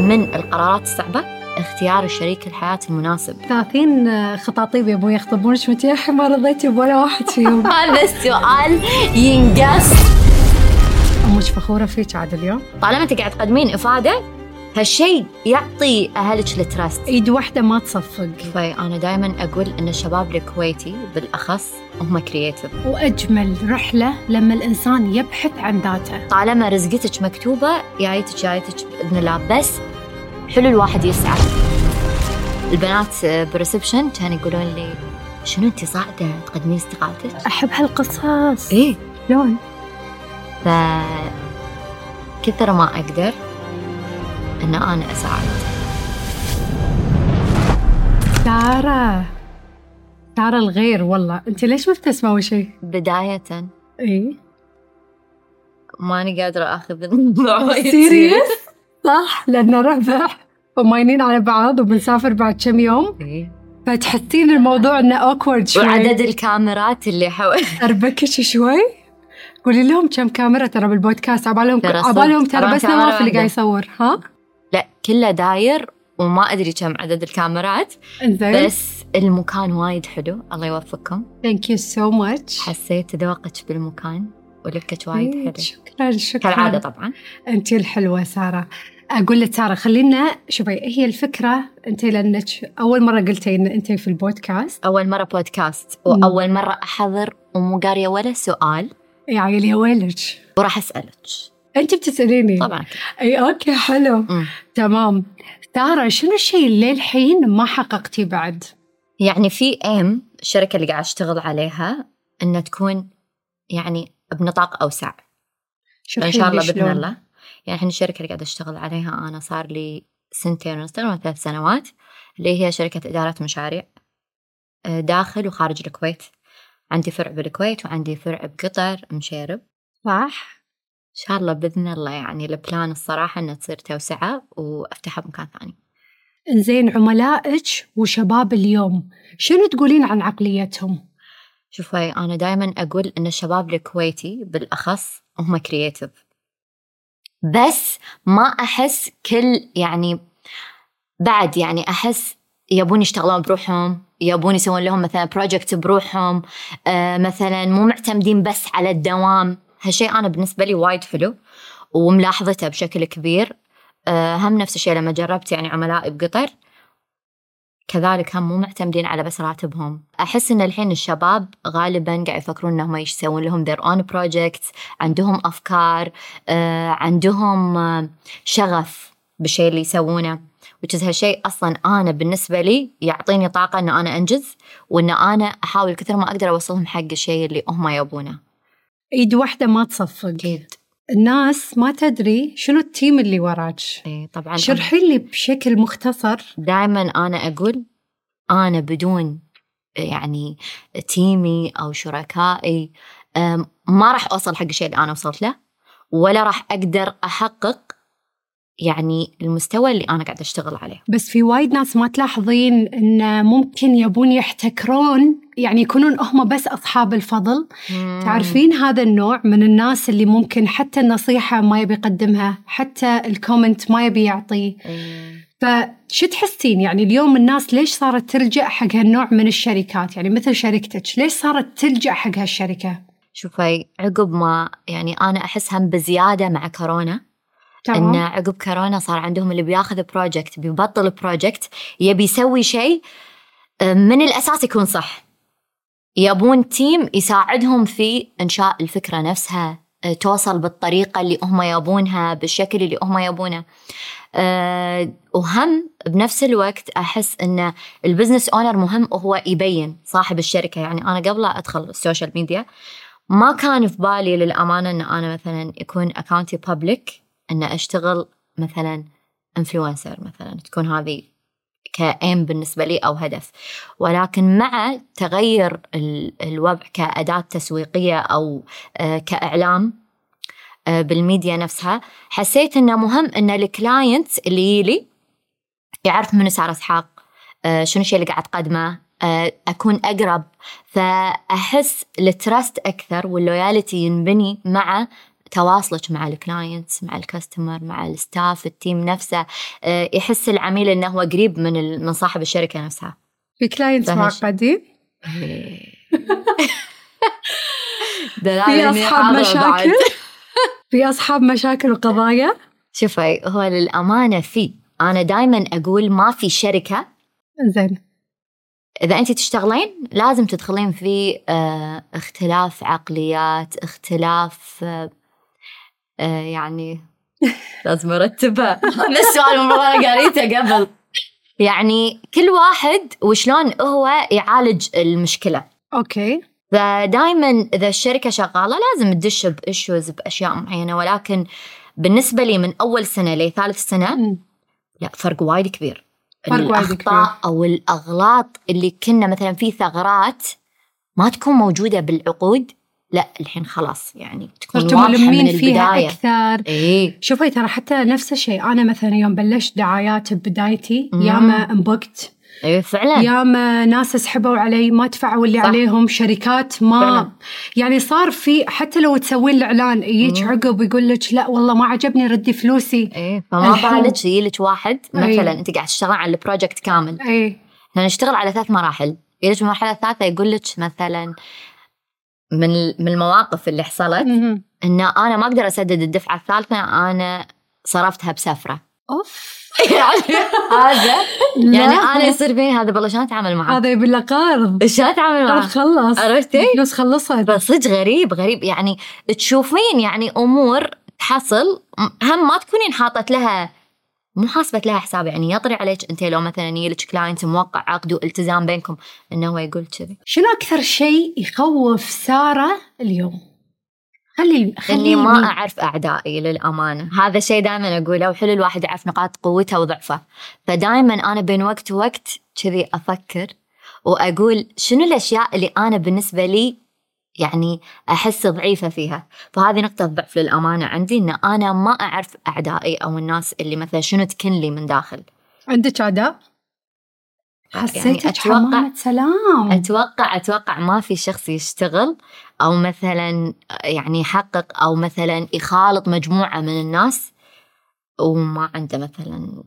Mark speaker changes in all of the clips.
Speaker 1: من القرارات الصعبة اختيار الشريك الحياة المناسب
Speaker 2: 30 خطاطيب طيب يا ابوي يخطبون شفتي يا اخي ما رضيتي بولا واحد فيهم
Speaker 1: هذا السؤال ينقص
Speaker 2: امك فخوره فيك عاد اليوم
Speaker 1: طالما انت قاعد تقدمين افاده هالشيء يعطي اهلك التراست
Speaker 2: ايد واحده ما تصفق
Speaker 1: فانا دائما اقول ان الشباب الكويتي بالاخص هم كرييتيف
Speaker 2: واجمل رحله لما الانسان يبحث عن ذاته
Speaker 1: طالما رزقتك مكتوبه جايتك جايتك باذن الله بس حلو الواحد يسعى البنات بالريسبشن كانوا يقولون لي شنو انت صاعده تقدمين استقالتك؟
Speaker 2: احب هالقصص
Speaker 1: ايه
Speaker 2: إيه، لون
Speaker 1: ف كثر ما اقدر ان انا اساعد
Speaker 2: سارة سارة الغير والله انت ليش مبتسمة اول شيء؟
Speaker 1: بدايه
Speaker 2: اي
Speaker 1: ماني قادره اخذ
Speaker 2: Oh,
Speaker 1: الموضوع وايد
Speaker 2: سيريس؟ صح لانه ربح وماينين على بعض وبنسافر بعد كم يوم
Speaker 1: إيه.
Speaker 2: فتحسين الموضوع انه اوكورد شوي
Speaker 1: وعدد الكاميرات اللي حوالي
Speaker 2: اربكش شوي قولي لهم كم كاميرا ترى بالبودكاست عبالهم
Speaker 1: ترى صدق.
Speaker 2: عبالهم ترى
Speaker 1: طبعاً
Speaker 2: بس نواف
Speaker 1: كاميرا
Speaker 2: اللي قاعد
Speaker 1: واحدة.
Speaker 2: يصور ها؟
Speaker 1: لا كله داير وما ادري كم عدد الكاميرات
Speaker 2: انزين
Speaker 1: بس المكان وايد حلو الله يوفقكم
Speaker 2: ثانك يو سو ماتش
Speaker 1: حسيت ذوقك بالمكان ولبكك وايد
Speaker 2: إيه،
Speaker 1: حلو
Speaker 2: شكرا شكرا
Speaker 1: كالعاده طبعا
Speaker 2: انت الحلوه ساره اقول لك ساره خلينا شوفي هي الفكره انت لانك اول مره قلتي ان انت في البودكاست
Speaker 1: اول مره بودكاست واول مره احضر ومو قاريه ولا سؤال
Speaker 2: يا إيه، عيلي ويلك
Speaker 1: وراح اسالك
Speaker 2: انت بتساليني
Speaker 1: طبعا
Speaker 2: اي اوكي إيه، حلو
Speaker 1: أمم. تمام
Speaker 2: تمام ساره شنو الشيء اللي للحين ما حققتيه بعد؟
Speaker 1: يعني في ايم الشركه اللي قاعد اشتغل عليها انها تكون يعني بنطاق اوسع فان شاء الله باذن الله يعني الحين الشركه اللي قاعده اشتغل عليها انا صار لي سنتين ونص تقريبا ثلاث سنوات اللي هي شركه اداره مشاريع آه، داخل وخارج الكويت عندي فرع بالكويت وعندي فرع بقطر مشيرب
Speaker 2: صح
Speaker 1: ان شاء الله باذن الله يعني البلان الصراحه انها تصير توسعه وافتحها بمكان ثاني
Speaker 2: انزين عملائك وشباب اليوم شنو تقولين عن عقليتهم؟
Speaker 1: شوفي انا دائما اقول ان الشباب الكويتي بالاخص هم كرييتيف بس ما احس كل يعني بعد يعني احس يبون يشتغلون بروحهم يبون يسوون لهم مثلا بروجكت بروحهم آه مثلا مو معتمدين بس على الدوام هالشيء انا بالنسبه لي وايد حلو وملاحظته بشكل كبير آه هم نفس الشيء لما جربت يعني عملائي بقطر كذلك هم مو معتمدين على بس راتبهم أحس إن الحين الشباب غالبا قاعد يفكرون إنهم يسوون لهم their own projects عندهم أفكار آه، عندهم آه، شغف بالشيء اللي يسوونه which is هالشيء أصلا أنا بالنسبة لي يعطيني طاقة إن أنا أنجز وإن أنا أحاول كثر ما أقدر أوصلهم حق الشيء اللي هم يبونه
Speaker 2: ايد واحده ما تصفق
Speaker 1: أكيد
Speaker 2: الناس ما تدري شنو التيم اللي وراك
Speaker 1: إيه، طبعا
Speaker 2: شرحي لي بشكل مختصر
Speaker 1: دائما انا اقول انا بدون يعني تيمي او شركائي أم، ما راح اوصل حق الشيء اللي انا وصلت له ولا راح اقدر احقق يعني المستوى اللي انا قاعده اشتغل عليه
Speaker 2: بس في وايد ناس ما تلاحظين ان ممكن يبون يحتكرون يعني يكونون هم بس اصحاب الفضل تعرفين هذا النوع من الناس اللي ممكن حتى النصيحه ما يبي يقدمها حتى الكومنت ما يبي يعطيه
Speaker 1: إيه.
Speaker 2: فشو تحسين يعني اليوم الناس ليش صارت تلجا حق هالنوع من الشركات يعني مثل شركتك ليش صارت تلجا حق هالشركه
Speaker 1: شوفي عقب ما يعني انا احس هم بزياده مع كورونا ان
Speaker 2: تمام
Speaker 1: عقب كورونا صار عندهم اللي بياخذ بروجكت بيبطل بروجكت يبي يسوي شيء آه، من الاساس يكون صح يبون تيم يساعدهم في انشاء الفكره نفسها آه، توصل بالطريقه اللي هم يبونها بالشكل اللي هم يبونه آه، وهم بنفس الوقت احس ان البزنس اونر مهم وهو يبين صاحب الشركه يعني انا قبل لا ادخل السوشيال ميديا ما كان في بالي للامانه ان انا مثلا يكون اكونتي بابليك ان اشتغل مثلا انفلونسر مثلا تكون هذه كايم بالنسبه لي او هدف ولكن مع تغير ال- الوضع كاداه تسويقيه او آه، كاعلام آه، بالميديا نفسها حسيت انه مهم ان الكلاينت اللي يلي يعرف منو ساره اسحاق آه، شنو الشيء اللي قاعد تقدمه آه، اكون اقرب فاحس التراست اكثر واللويالتي ينبني مع تواصلك مع الكلاينتس مع الكاستمر مع الستاف التيم نفسه آه، يحس العميل انه هو قريب من ال- من صاحب الشركه نفسها
Speaker 2: في كلاينتس
Speaker 1: فهش.
Speaker 2: معقدين
Speaker 1: دلالة
Speaker 2: في
Speaker 1: إني
Speaker 2: اصحاب
Speaker 1: حاضرة بعد.
Speaker 2: مشاكل في اصحاب مشاكل وقضايا
Speaker 1: شوفي هو للامانه في انا دائما اقول ما في شركه
Speaker 2: زين
Speaker 1: اذا انت تشتغلين لازم تدخلين في آه، اختلاف عقليات اختلاف آه، آه، يعني لازم ارتبها هذا السؤال المفروض انا قريته قبل يعني كل واحد وشلون هو يعالج المشكله
Speaker 2: اوكي
Speaker 1: فدائما اذا الشركه شغاله لازم تدش بايشوز باشياء معينه ولكن بالنسبه لي من اول سنه لثالث سنه
Speaker 2: أمم.
Speaker 1: لا فرق وايد كبير
Speaker 2: فرق وايد
Speaker 1: الاخطاء
Speaker 2: كبير.
Speaker 1: او الاغلاط اللي كنا مثلا في ثغرات ما تكون موجوده بالعقود لا الحين خلاص يعني تكون
Speaker 2: صرتوا
Speaker 1: واضحه من إيه،
Speaker 2: ملمين فيها
Speaker 1: البدايه
Speaker 2: اكثر
Speaker 1: اي
Speaker 2: شوفي ترى حتى نفس الشيء انا مثلا يوم بلشت دعايات ببدايتي
Speaker 1: مم.
Speaker 2: ياما انبكت
Speaker 1: اي فعلا
Speaker 2: ياما ناس سحبوا علي ما دفعوا اللي
Speaker 1: إيه. صح.
Speaker 2: عليهم شركات ما
Speaker 1: فعلاً.
Speaker 2: يعني صار في حتى لو تسوين الاعلان يجيك
Speaker 1: مم.
Speaker 2: عقب يقول لك لا والله ما عجبني ردي فلوسي
Speaker 1: اي إيه، فما
Speaker 2: الحين-
Speaker 1: بالك يجيلك واحد
Speaker 2: إي.
Speaker 1: مثلا انت قاعد تشتغل على البروجكت كامل
Speaker 2: اي
Speaker 1: احنا نشتغل على ثلاث مراحل يجي المرحله الثالثه يقول لك مثلا من من المواقف اللي حصلت
Speaker 2: مهم.
Speaker 1: ان انا ما اقدر اسدد الدفعه الثالثه انا صرفتها بسفره
Speaker 2: اوف
Speaker 1: يعني هذا يعني انا يصير فيني هذا بالله شلون اتعامل معه؟
Speaker 2: هذا يبي له قرض
Speaker 1: شلون اتعامل
Speaker 2: قرض
Speaker 1: معه؟
Speaker 2: خلص
Speaker 1: آه. عرفتي؟
Speaker 2: فلوس خلصت
Speaker 1: بس صدق غريب غريب يعني تشوفين يعني امور تحصل م- هم ما تكونين حاطت لها مو حاسبه لها حساب يعني يطري عليك انت لو مثلا يجيك كلاينت موقع عقد والتزام بينكم انه هو يقول كذي
Speaker 2: شنو اكثر شيء يخوف ساره اليوم؟ خلي خلي
Speaker 1: اني ما اعرف اعدائي للامانه، هذا شيء دائما اقوله وحلو الواحد يعرف نقاط قوته وضعفه، فدائما انا بين وقت ووقت كذي افكر واقول شنو الاشياء اللي انا بالنسبه لي يعني احس ضعيفه فيها، فهذه نقطه ضعف للامانه عندي ان انا ما اعرف اعدائي او الناس اللي مثلا شنو تكن لي من داخل،
Speaker 2: عندك عداء؟
Speaker 1: يعني
Speaker 2: حسيتك
Speaker 1: اتوقع
Speaker 2: حمامة سلام
Speaker 1: اتوقع اتوقع ما في شخص يشتغل او مثلا يعني يحقق او مثلا يخالط مجموعه من الناس وما عنده مثلا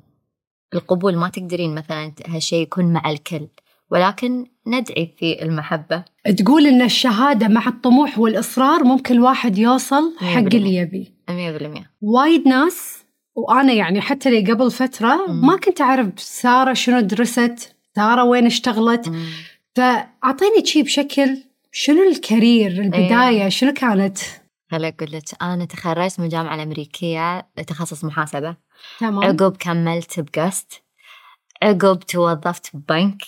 Speaker 1: القبول ما تقدرين مثلا هالشيء يكون مع الكل ولكن ندعي في المحبه
Speaker 2: تقول ان الشهاده مع الطموح والاصرار ممكن الواحد يوصل حق
Speaker 1: بالمية.
Speaker 2: اللي يبيه
Speaker 1: 100%
Speaker 2: وايد ناس وانا يعني حتى لي قبل فتره
Speaker 1: مم.
Speaker 2: ما كنت اعرف ساره شنو درست ساره وين اشتغلت فاعطيني شي بشكل شنو الكارير
Speaker 1: إيه.
Speaker 2: البدايه شنو كانت
Speaker 1: هلا اقول لك انا تخرجت من الجامعه الامريكيه تخصص محاسبه
Speaker 2: تمام
Speaker 1: عقب كملت بقست عقب توظفت ببنك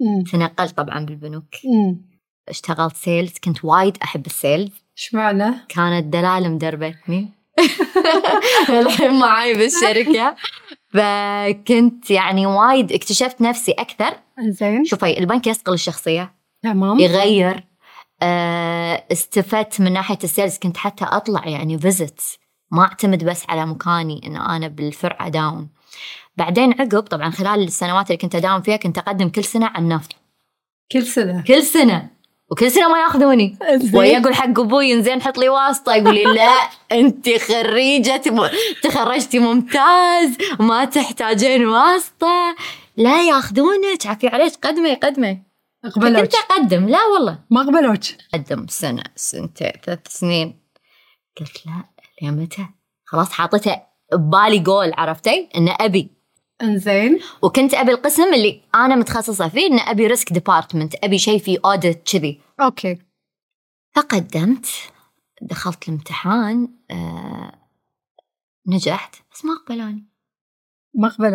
Speaker 2: مم.
Speaker 1: تنقلت طبعا بالبنوك
Speaker 2: مم.
Speaker 1: اشتغلت سيلز كنت وايد احب السيلز
Speaker 2: ايش معنى؟
Speaker 1: كانت دلال مدربتني الحين معاي بالشركه فكنت يعني وايد اكتشفت نفسي اكثر
Speaker 2: زين
Speaker 1: شوفي البنك يصقل الشخصيه
Speaker 2: تمام
Speaker 1: إيه. يغير آه، استفدت من ناحيه السيلز كنت حتى اطلع يعني فيزت ما اعتمد بس على مكاني ان انا بالفرع اداوم بعدين عقب طبعا خلال السنوات اللي كنت اداوم فيها كنت اقدم كل سنه عن نفط
Speaker 2: كل سنه
Speaker 1: كل سنه وكل سنه ما ياخذوني ويا
Speaker 2: زين
Speaker 1: اقول حق ابوي زين حط لي واسطه يقول لي لا انت خريجه م- تخرجتي ممتاز ما تحتاجين واسطه لا ياخذونك عفي عليك قدمي قدمي
Speaker 2: اقبلوك
Speaker 1: كنت اقدم لا والله
Speaker 2: ما اقبلوك
Speaker 1: قدم سنه سنتين ثلاث سنين قلت لا ليه متى خلاص حاطته ببالي جول عرفتي انه ابي
Speaker 2: انزين
Speaker 1: وكنت ابي القسم اللي انا متخصصه فيه انه ابي ريسك ديبارتمنت ابي شيء فيه اوديت كذي
Speaker 2: اوكي
Speaker 1: فقدمت دخلت الامتحان آه، نجحت بس ما قبلوني
Speaker 2: ما قبلوك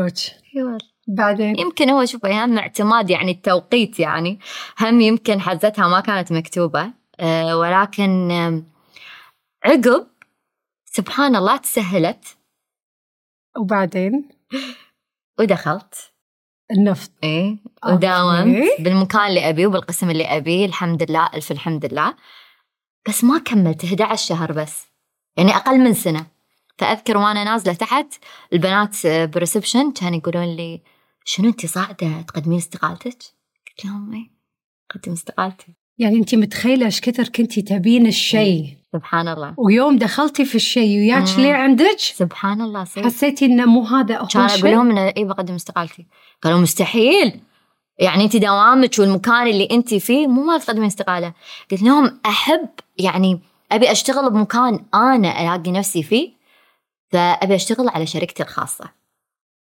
Speaker 1: اي والله
Speaker 2: بعدين
Speaker 1: يمكن هو شوف هم اعتماد يعني التوقيت يعني هم يمكن حزتها ما كانت مكتوبة آه، ولكن آم، عقب سبحان الله تسهلت
Speaker 2: وبعدين
Speaker 1: ودخلت
Speaker 2: النفط
Speaker 1: ايه وداومت
Speaker 2: أوكي.
Speaker 1: بالمكان اللي ابيه وبالقسم اللي ابيه الحمد لله الف الحمد لله بس ما كملت 11 شهر بس يعني اقل من سنه فاذكر وانا نازله تحت البنات آه، بريسبشن كانوا يقولون لي شنو انت صاعده تقدمين استقالتك؟ قلت لهم ايه قدم استقالتي
Speaker 2: يعني انت متخيله ايش كثر كنتي تبين الشيء
Speaker 1: سبحان الله
Speaker 2: ويوم دخلتي في الشيء وياك
Speaker 1: مم.
Speaker 2: ليه عندك
Speaker 1: سبحان الله صدق
Speaker 2: حسيتي انه مو هذا
Speaker 1: كان
Speaker 2: هو
Speaker 1: اقول
Speaker 2: الشيء
Speaker 1: لهم انه اي بقدم استقالتي قالوا مستحيل يعني انت دوامك والمكان اللي انت فيه مو ما تقدمين استقاله قلت لهم احب يعني ابي اشتغل بمكان انا الاقي نفسي فيه فابي اشتغل على شركتي الخاصه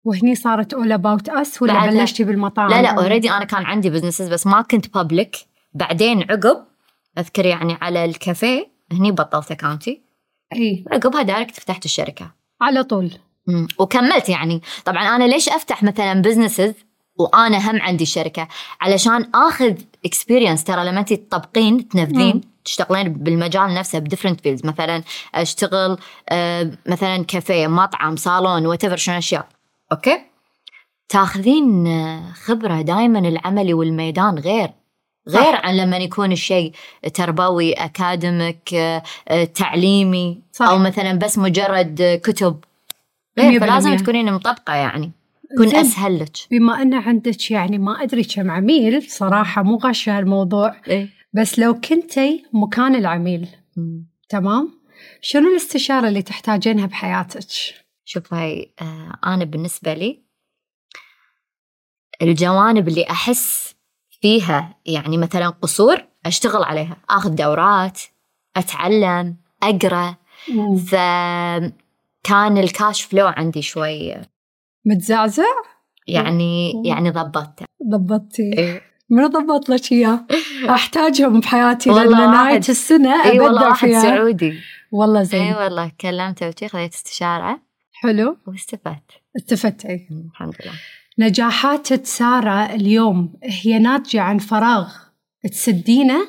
Speaker 2: وهني صارت اول اباوت اس ولا
Speaker 1: بعد لا.
Speaker 2: بلشتي بالمطاعم
Speaker 1: لا لا اوريدي انا كان عندي بزنسز بس ما كنت بابليك بعدين عقب اذكر يعني على الكافيه هني بطلت اكاونتي
Speaker 2: اي
Speaker 1: عقبها دايركت فتحت الشركه
Speaker 2: على طول
Speaker 1: مم. وكملت يعني طبعا انا ليش افتح مثلا بزنسز وانا هم عندي شركه علشان اخذ اكسبيرينس ترى لما انت تطبقين تنفذين
Speaker 2: مم.
Speaker 1: تشتغلين بالمجال نفسه بديفرنت فيلدز مثلا اشتغل آه، مثلا كافيه مطعم صالون وات شنو اشياء اوكي تاخذين آه، خبره دائما العملي والميدان غير غير عن لما يكون الشيء تربوي اكاديميك آه، آه، تعليمي
Speaker 2: صح.
Speaker 1: او مثلا بس مجرد آه، كتب
Speaker 2: مية
Speaker 1: غير فلازم
Speaker 2: بالمية.
Speaker 1: تكونين مطبقه يعني تكون
Speaker 2: زين.
Speaker 1: اسهل لك
Speaker 2: بما ان عندك يعني ما ادري كم عميل صراحه مو غشه الموضوع
Speaker 1: ايه
Speaker 2: بس لو كنتي مكان العميل تمام شنو الاستشاره اللي تحتاجينها بحياتك
Speaker 1: شوف هاي آه، انا بالنسبه لي الجوانب اللي احس فيها يعني مثلا قصور اشتغل عليها اخذ دورات اتعلم اقرا فكان الكاش فلو عندي شوي
Speaker 2: متزعزع
Speaker 1: يعني
Speaker 2: مم.
Speaker 1: يعني ضبطته
Speaker 2: ضبطتي
Speaker 1: إيه.
Speaker 2: من ضبط لك اياه احتاجهم بحياتي
Speaker 1: والله
Speaker 2: لان
Speaker 1: واحد-
Speaker 2: نهايه السنه
Speaker 1: اي إيه والله
Speaker 2: ابدع
Speaker 1: واحد أيوة.
Speaker 2: فيها
Speaker 1: سعودي
Speaker 2: والله زين
Speaker 1: اي والله كلمته وشي خذيت استشاره
Speaker 2: حلو
Speaker 1: واستفدت
Speaker 2: التفتي
Speaker 1: مم، الحمد لله
Speaker 2: نجاحات سارة اليوم هي ناتجة عن فراغ تسدينه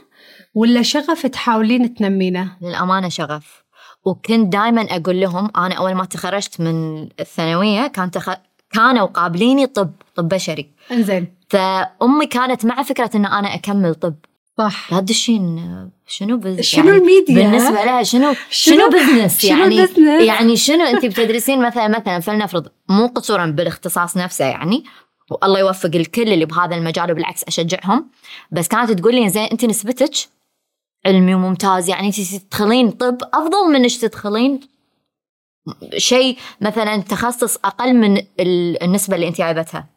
Speaker 2: ولا شغف تحاولين تنمينه؟
Speaker 1: للأمانة شغف وكنت دائما أقول لهم أنا أول ما تخرجت من الثانوية كان تخ... كانوا قابليني طب طب بشري
Speaker 2: انزين
Speaker 1: فأمي كانت مع فكرة أن أنا أكمل طب
Speaker 2: صح
Speaker 1: لا تدشين شنو بز...
Speaker 2: شنو
Speaker 1: يعني
Speaker 2: الميديا؟
Speaker 1: بالنسبة لها شنو
Speaker 2: شنو-
Speaker 1: شنو بزنس
Speaker 2: شنو
Speaker 1: يعني
Speaker 2: البزنس؟
Speaker 1: يعني شنو أنت بتدرسين مثلا مثلا فلنفرض مو قصورا بالاختصاص نفسه يعني والله يوفق الكل اللي بهذا المجال وبالعكس أشجعهم بس كانت تقول لي زين أنت نسبتك علمي وممتاز يعني انت تدخلين طب افضل من انك تدخلين شيء مثلا تخصص اقل من ال- النسبه اللي انت جايبتها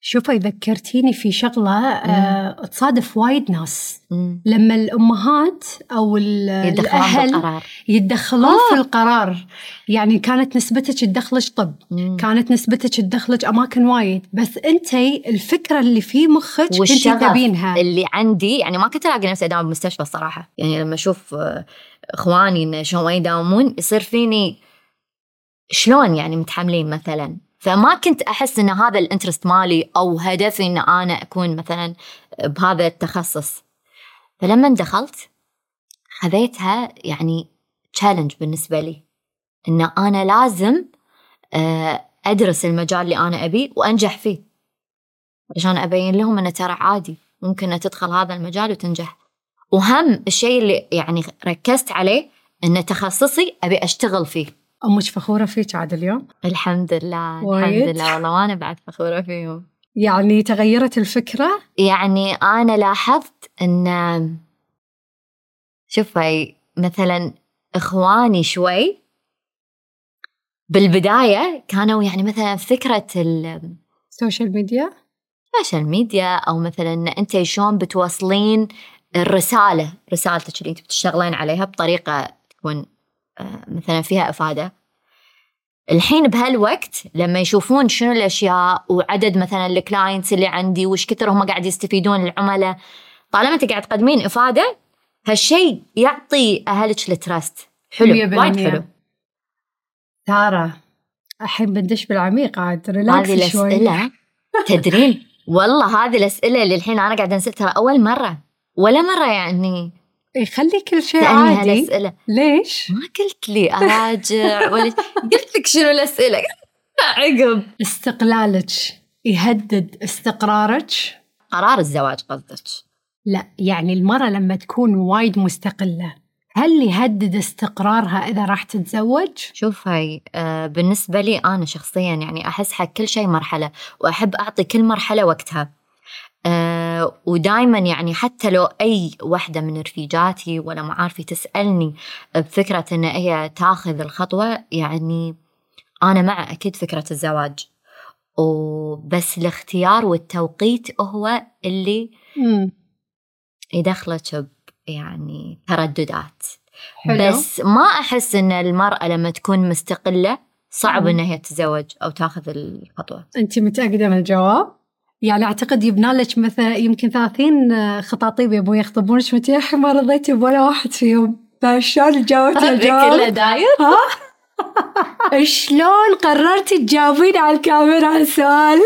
Speaker 2: شوفي ذكرتيني في شغلة آه تصادف وايد ناس
Speaker 1: مم.
Speaker 2: لما الأمهات أو ال-
Speaker 1: يدخلون
Speaker 2: آه، الأهل
Speaker 1: بالقرار
Speaker 2: يتدخلون
Speaker 1: آه.
Speaker 2: في القرار يعني كانت نسبتك تدخلك طب
Speaker 1: مم.
Speaker 2: كانت نسبتك تدخلك أماكن وايد بس أنتي الفكرة اللي في مخك كنتي
Speaker 1: والشغف
Speaker 2: تبينها
Speaker 1: اللي عندي يعني ما كنت الاقي نفسي اداوم بالمستشفى الصراحه يعني لما اشوف آه، اخواني انه شلون يداومون يصير فيني شلون يعني متحملين مثلا فما كنت احس ان هذا الانترست مالي او هدفي ان انا اكون مثلا بهذا التخصص فلما دخلت خذيتها يعني تشالنج بالنسبه لي ان انا لازم آه، ادرس المجال اللي انا ابيه وانجح فيه عشان ابين لهم انه ترى عادي ممكن إن تدخل هذا المجال وتنجح وهم الشيء اللي يعني ركزت عليه ان تخصصي ابي اشتغل فيه
Speaker 2: أمك فخورة فيك عاد اليوم
Speaker 1: الحمد لله
Speaker 2: وايد.
Speaker 1: الحمد لله والله وانا بعد فخوره فيهم
Speaker 2: يعني تغيرت الفكرة
Speaker 1: يعني انا لاحظت ان شوفي مثلا اخواني شوي بالبدايه كانوا يعني مثلا فكره ال-
Speaker 2: سوشيال ميديا
Speaker 1: السوشيال ميديا او مثلا إن انت شلون بتوصلين الرساله رسالتك اللي انت بتشتغلين عليها بطريقه تكون آه، مثلا فيها افاده الحين بهالوقت لما يشوفون شنو الاشياء وعدد مثلا الكلاينتس اللي عندي وش كثر هم قاعد يستفيدون العملاء طالما انت قاعد تقدمين افاده هالشيء يعطي اهلك التراست حلو
Speaker 2: مية بالمية.
Speaker 1: وايد حلو
Speaker 2: تارا الحين بندش بالعميق عاد
Speaker 1: هذه
Speaker 2: ريلاكس شوي
Speaker 1: الأسئلة تدرين والله هذه الأسئلة اللي الحين أنا قاعدة أنسل ترى أول مرة ولا مرة يعني
Speaker 2: إي، إيه، خلي كل شيء
Speaker 1: تسألني
Speaker 2: عادي
Speaker 1: هالأسئلة
Speaker 2: ليش؟
Speaker 1: ما قلت لي أراجع ولا قلت لك شنو الأسئلة عقب
Speaker 2: استقلالك يهدد استقرارك
Speaker 1: قرار الزواج قصدك
Speaker 2: لا يعني المرأة لما تكون وايد مستقلة هل يهدد استقرارها إذا راح تتزوج؟
Speaker 1: شوفي آه، بالنسبة لي أنا شخصيا يعني أحس حق كل شيء مرحلة وأحب أعطي كل مرحلة وقتها آه، أه ودائما يعني حتى لو اي وحده من رفيجاتي ولا معارفي تسالني بفكره ان هي تاخذ الخطوه يعني انا مع اكيد فكره الزواج وبس الاختيار والتوقيت هو اللي
Speaker 2: مم.
Speaker 1: يدخلك ب- يعني ترددات
Speaker 2: حلو.
Speaker 1: بس ما احس ان المراه لما تكون مستقله صعب
Speaker 2: مم.
Speaker 1: ان هي تتزوج او تاخذ الخطوه
Speaker 2: انت متاكده من الجواب؟ يعني اعتقد يبنى لك مثلا يمكن طيب 30 خطاطيب يبون يخطبونك وانت يا اخي ما رضيتي بولا واحد فيهم فشلون جاوبتي
Speaker 1: طيب،
Speaker 2: الجواب؟
Speaker 1: داير
Speaker 2: شلون قررتي تجاوبين على الكاميرا على السؤال؟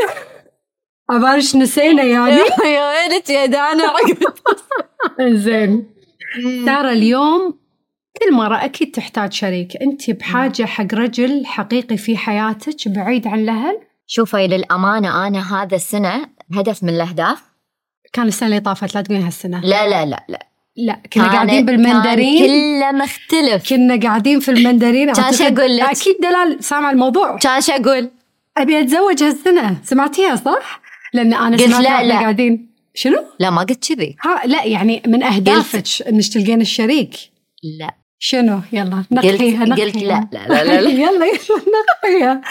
Speaker 2: عبالك نسينا يعني؟
Speaker 1: يا ويلك يا دانا عقد
Speaker 2: زين ترى اليوم كل مرة أكيد تحتاج شريك أنت بحاجة حق رجل حقيقي في حياتك بعيد عن الأهل
Speaker 1: شوفي للامانه انا هذا السنه هدف من الاهداف
Speaker 2: كان السنة اللي طافت لا تقولين هالسنة
Speaker 1: لا لا لا لا
Speaker 2: لا كنا
Speaker 1: كان- كان
Speaker 2: قاعدين بالمندرين
Speaker 1: كله مختلف
Speaker 2: كنا قاعدين في المندرين
Speaker 1: كان شو
Speaker 2: أعتقد-
Speaker 1: أقول لك؟
Speaker 2: أكيد دلال سامع الموضوع
Speaker 1: كان شو اقول؟
Speaker 2: أبي أتزوج هالسنة سمعتيها صح؟ لأن أنا
Speaker 1: قلت
Speaker 2: سمعت
Speaker 1: لا،
Speaker 2: واحنا
Speaker 1: لا.
Speaker 2: قاعدين شنو؟
Speaker 1: لا ما قلت كذي
Speaker 2: ها لا يعني من أهدافك إنك تلقين الشريك
Speaker 1: لا
Speaker 2: شنو يلا
Speaker 1: قلت
Speaker 2: نقحيها نقحيها
Speaker 1: قلت لا لا لا لا, لا.
Speaker 2: يلا يلا نقحيها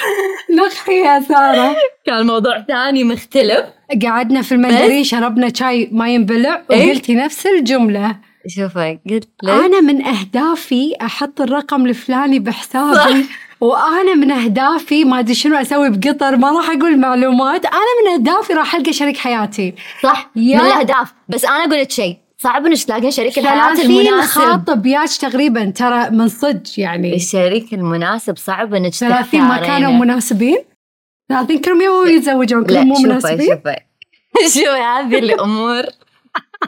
Speaker 2: نقحيها ساره
Speaker 1: كان موضوع ثاني مختلف
Speaker 2: قعدنا في المندرين شربنا شاي ما ينبلع
Speaker 1: إيه؟
Speaker 2: وقلتي نفس الجمله
Speaker 1: شوفي قلت
Speaker 2: آه،
Speaker 1: لك
Speaker 2: انا من اهدافي احط الرقم الفلاني بحسابي وانا من اهدافي ما ادري شنو اسوي بقطر ما راح اقول معلومات انا من اهدافي راح القى شريك حياتي
Speaker 1: صح
Speaker 2: يا-
Speaker 1: من الاهداف بس انا اقول لك شيء صعب انك تلاقين شريك الحياه
Speaker 2: 30
Speaker 1: المناسب
Speaker 2: خاطب ياك تقريبا ترى من صدق يعني
Speaker 1: الشريك المناسب صعب انك
Speaker 2: 30 ما كانوا
Speaker 1: تختارينه.
Speaker 2: مناسبين 30 كلهم يبون يتزوجون كلهم مو
Speaker 1: شوفي
Speaker 2: مناسبين
Speaker 1: شوفي شوفي هذه الامور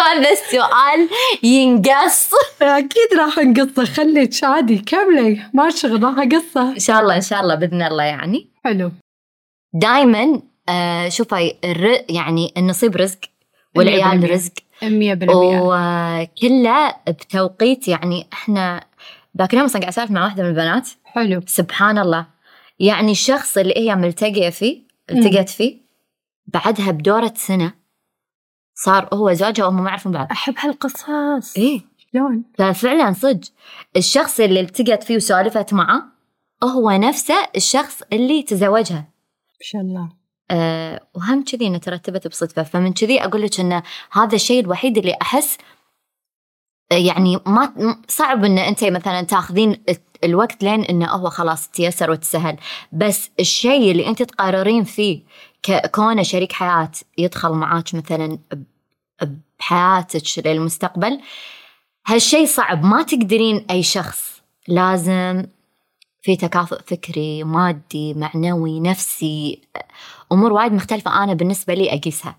Speaker 1: هذا السؤال ينقص
Speaker 2: اكيد راح نقصه خليك عادي كملي ما شغل راح اقصه
Speaker 1: ان شاء الله ان شاء الله باذن الله يعني
Speaker 2: حلو
Speaker 1: دائما آه شوفي الر... يعني النصيب رزق والعيال
Speaker 2: 100%.
Speaker 1: رزق
Speaker 2: 100%
Speaker 1: وكله بتوقيت يعني احنا ذاك اليوم اصلا قاعد اسولف مع واحده من البنات
Speaker 2: حلو
Speaker 1: سبحان الله يعني الشخص اللي هي ملتقيه فيه التقت فيه بعدها بدورة سنة صار هو زوجها وهم ما يعرفون بعض
Speaker 2: احب هالقصص
Speaker 1: ايه
Speaker 2: شلون
Speaker 1: ففعلا صدق الشخص اللي التقت فيه وسالفت معه هو نفسه الشخص اللي تزوجها
Speaker 2: ما شاء الله
Speaker 1: أه وهم كذي انه ترتبت بصدفه فمن كذي اقول لك انه هذا الشيء الوحيد اللي احس آه، يعني ما م- صعب ان انت مثلا تاخذين الت- الوقت لين انه هو خلاص تيسر وتسهل بس الشيء اللي انت تقررين فيه كونه شريك حياه يدخل معاك مثلا ب- بحياتك للمستقبل هالشيء صعب ما تقدرين اي شخص لازم في تكافؤ فكري مادي معنوي نفسي امور وايد مختلفه انا بالنسبه لي اقيسها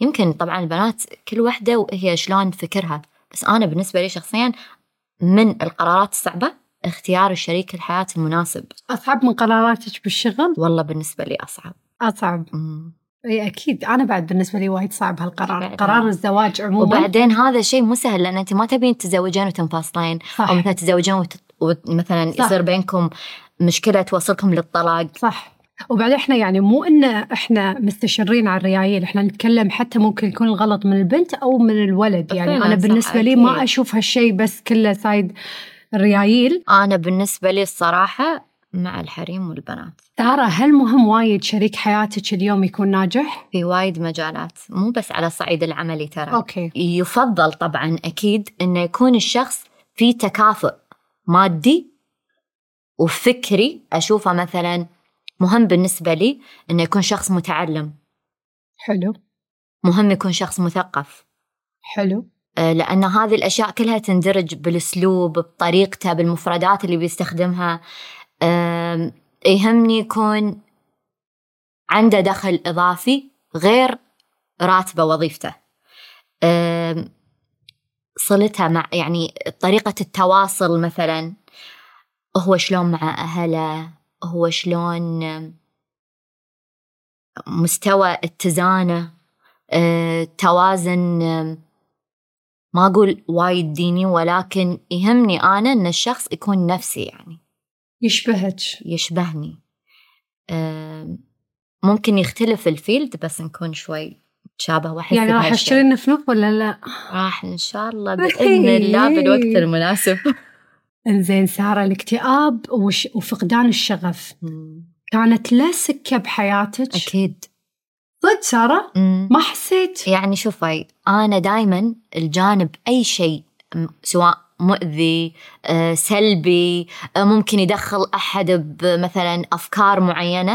Speaker 1: يمكن طبعا البنات كل وحده وهي شلون فكرها بس انا بالنسبه لي شخصيا من القرارات الصعبه اختيار الشريك الحياه المناسب
Speaker 2: اصعب من قراراتك بالشغل
Speaker 1: والله بالنسبه لي اصعب
Speaker 2: اصعب
Speaker 1: أمم.
Speaker 2: اي اكيد انا بعد بالنسبه لي وايد صعب هالقرار
Speaker 1: بعد. آه.
Speaker 2: قرار الزواج عموما
Speaker 1: وبعدين هذا شيء مو سهل لان انت ما تبين تتزوجين وتنفصلين
Speaker 2: صح
Speaker 1: او مثلا تتزوجين وت- ومثلا
Speaker 2: صح.
Speaker 1: يصير بينكم مشكله توصلكم للطلاق
Speaker 2: صح وبعدين احنا يعني مو ان احنا مستشرين على الريايل احنا نتكلم حتى ممكن يكون الغلط من البنت او من الولد يعني
Speaker 1: فعلاً
Speaker 2: انا
Speaker 1: صح،
Speaker 2: بالنسبه لي ما
Speaker 1: أكيد.
Speaker 2: اشوف هالشيء بس كله سايد الريايل
Speaker 1: انا بالنسبه لي الصراحه مع الحريم والبنات
Speaker 2: ترى هل مهم وايد شريك حياتك اليوم يكون ناجح؟
Speaker 1: في وايد مجالات مو بس على الصعيد العملي ترى
Speaker 2: اوكي
Speaker 1: يفضل طبعا اكيد انه يكون الشخص في تكافؤ مادي وفكري اشوفه مثلا مهم بالنسبه لي انه يكون شخص متعلم
Speaker 2: حلو
Speaker 1: مهم يكون شخص مثقف
Speaker 2: حلو
Speaker 1: آه، لان هذه الاشياء كلها تندرج بالاسلوب بطريقته بالمفردات اللي بيستخدمها آم، يهمني يكون عنده دخل اضافي غير راتبه وظيفته آم، صلتها مع يعني طريقه التواصل مثلا هو شلون مع اهله هو شلون آم، مستوى اتزانه آه، توازن آم، ما أقول وايد ديني ولكن يهمني أنا أن الشخص يكون نفسي يعني
Speaker 2: يشبهك
Speaker 1: يشبهني أم، ممكن يختلف الفيلد بس نكون شوي تشابه واحس
Speaker 2: يعني راح
Speaker 1: بهالشيء.
Speaker 2: اشتري النفنوف ولا لا؟
Speaker 1: راح ان شاء الله باذن الله بالوقت المناسب
Speaker 2: انزين ساره الاكتئاب وش وفقدان الشغف كانت له سكه بحياتك؟
Speaker 1: اكيد
Speaker 2: صدق ساره؟
Speaker 1: مم.
Speaker 2: ما حسيت؟
Speaker 1: يعني شوفي انا دائما الجانب اي شيء م- سواء مؤذي آه، سلبي آه، ممكن يدخل احد بمثلا افكار معينه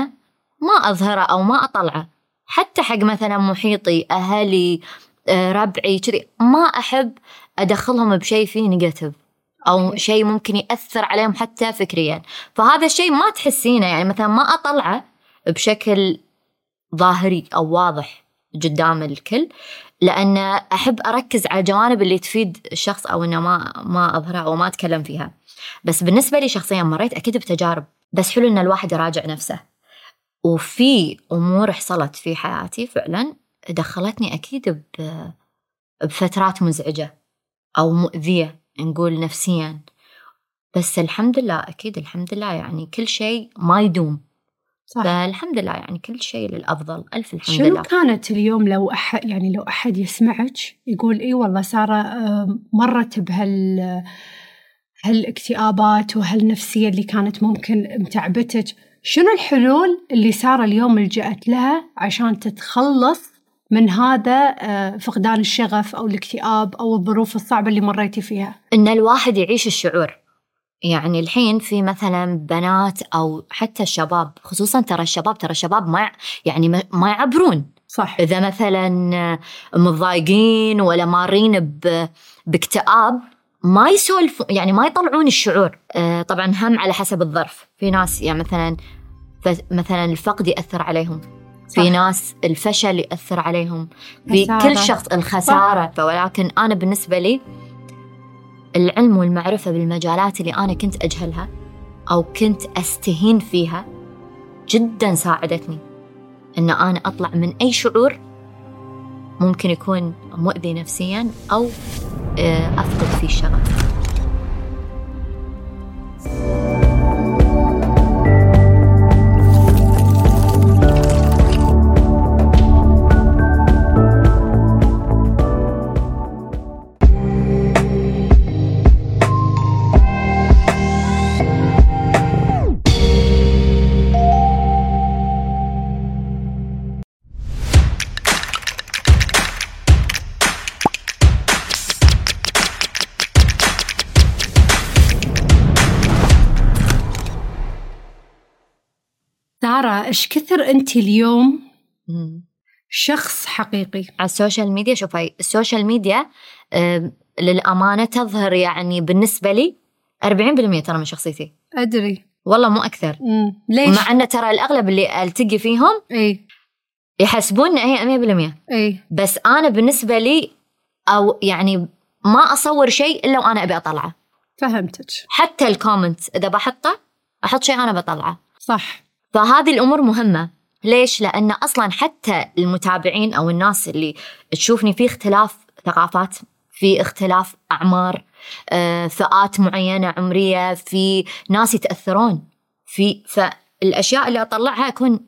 Speaker 1: ما اظهره او ما اطلعه حتى حق مثلا محيطي اهلي آه، ربعي كذي ما احب ادخلهم بشيء فيه نيجاتيف او
Speaker 2: أوكي.
Speaker 1: شيء ممكن ياثر عليهم حتى فكريا فهذا الشيء ما تحسينه يعني مثلا ما اطلعه بشكل ظاهري او واضح قدام الكل لان احب اركز على الجوانب اللي تفيد الشخص او انه ما ما اظهرها او ما اتكلم فيها بس بالنسبه لي شخصيا مريت اكيد بتجارب بس حلو ان الواحد يراجع نفسه وفي امور حصلت في حياتي فعلا دخلتني اكيد ب- بفترات مزعجه او مؤذيه نقول نفسيا بس الحمد لله اكيد الحمد لله يعني كل شيء ما يدوم
Speaker 2: صح.
Speaker 1: فالحمد لله يعني كل شيء للافضل الف الحمد
Speaker 2: شنو
Speaker 1: لله
Speaker 2: كانت اليوم لو أحد يعني لو أحد يسمعك يقول إي والله سارة آه، مرت بهال هالاكتئابات وهالنفسية اللي كانت ممكن متعبتك شنو الحلول اللي سارة اليوم لجأت لها عشان تتخلص من هذا آه، فقدان الشغف أو الاكتئاب أو الظروف الصعبة اللي مريتي فيها
Speaker 1: ان الواحد يعيش الشعور يعني الحين في مثلا بنات او حتى الشباب خصوصا ترى الشباب ترى الشباب ما يع- يعني ما- ما يعبرون
Speaker 2: صح
Speaker 1: اذا مثلا متضايقين ولا مارين ب- باكتئاب ما يسولفون يعني ما يطلعون الشعور آه، طبعا هم على حسب الظرف في ناس يعني مثلا ف- مثلا الفقد ياثر عليهم
Speaker 2: صح.
Speaker 1: في ناس الفشل ياثر عليهم في
Speaker 2: خسارة.
Speaker 1: كل شخص الخساره ولكن انا بالنسبه لي العلم والمعرفه بالمجالات اللي انا كنت اجهلها او كنت استهين فيها جدا ساعدتني ان انا اطلع من اي شعور ممكن يكون مؤذي نفسيا او آه، افقد فيه الشغف
Speaker 2: سارة إيش كثر أنت اليوم
Speaker 1: مم.
Speaker 2: شخص حقيقي
Speaker 1: على السوشيال ميديا شوفي السوشيال ميديا آه، للامانه تظهر يعني بالنسبه لي 40% ترى من شخصيتي
Speaker 2: أدري
Speaker 1: والله مو اكثر
Speaker 2: مم. ليش؟
Speaker 1: مع ان ترى الاغلب اللي التقي فيهم
Speaker 2: إي
Speaker 1: يحسبون ان هي 100%
Speaker 2: إي
Speaker 1: بس انا بالنسبه لي او يعني ما اصور شيء الا وانا ابي اطلعه
Speaker 2: فهمتك
Speaker 1: حتى الكومنت اذا بحطه احط شيء انا بطلعه
Speaker 2: صح
Speaker 1: فهذه الامور مهمه ليش لان اصلا حتى المتابعين او الناس اللي تشوفني في اختلاف ثقافات في اختلاف اعمار آه، فئات معينه عمريه في ناس يتاثرون في فالاشياء اللي اطلعها اكون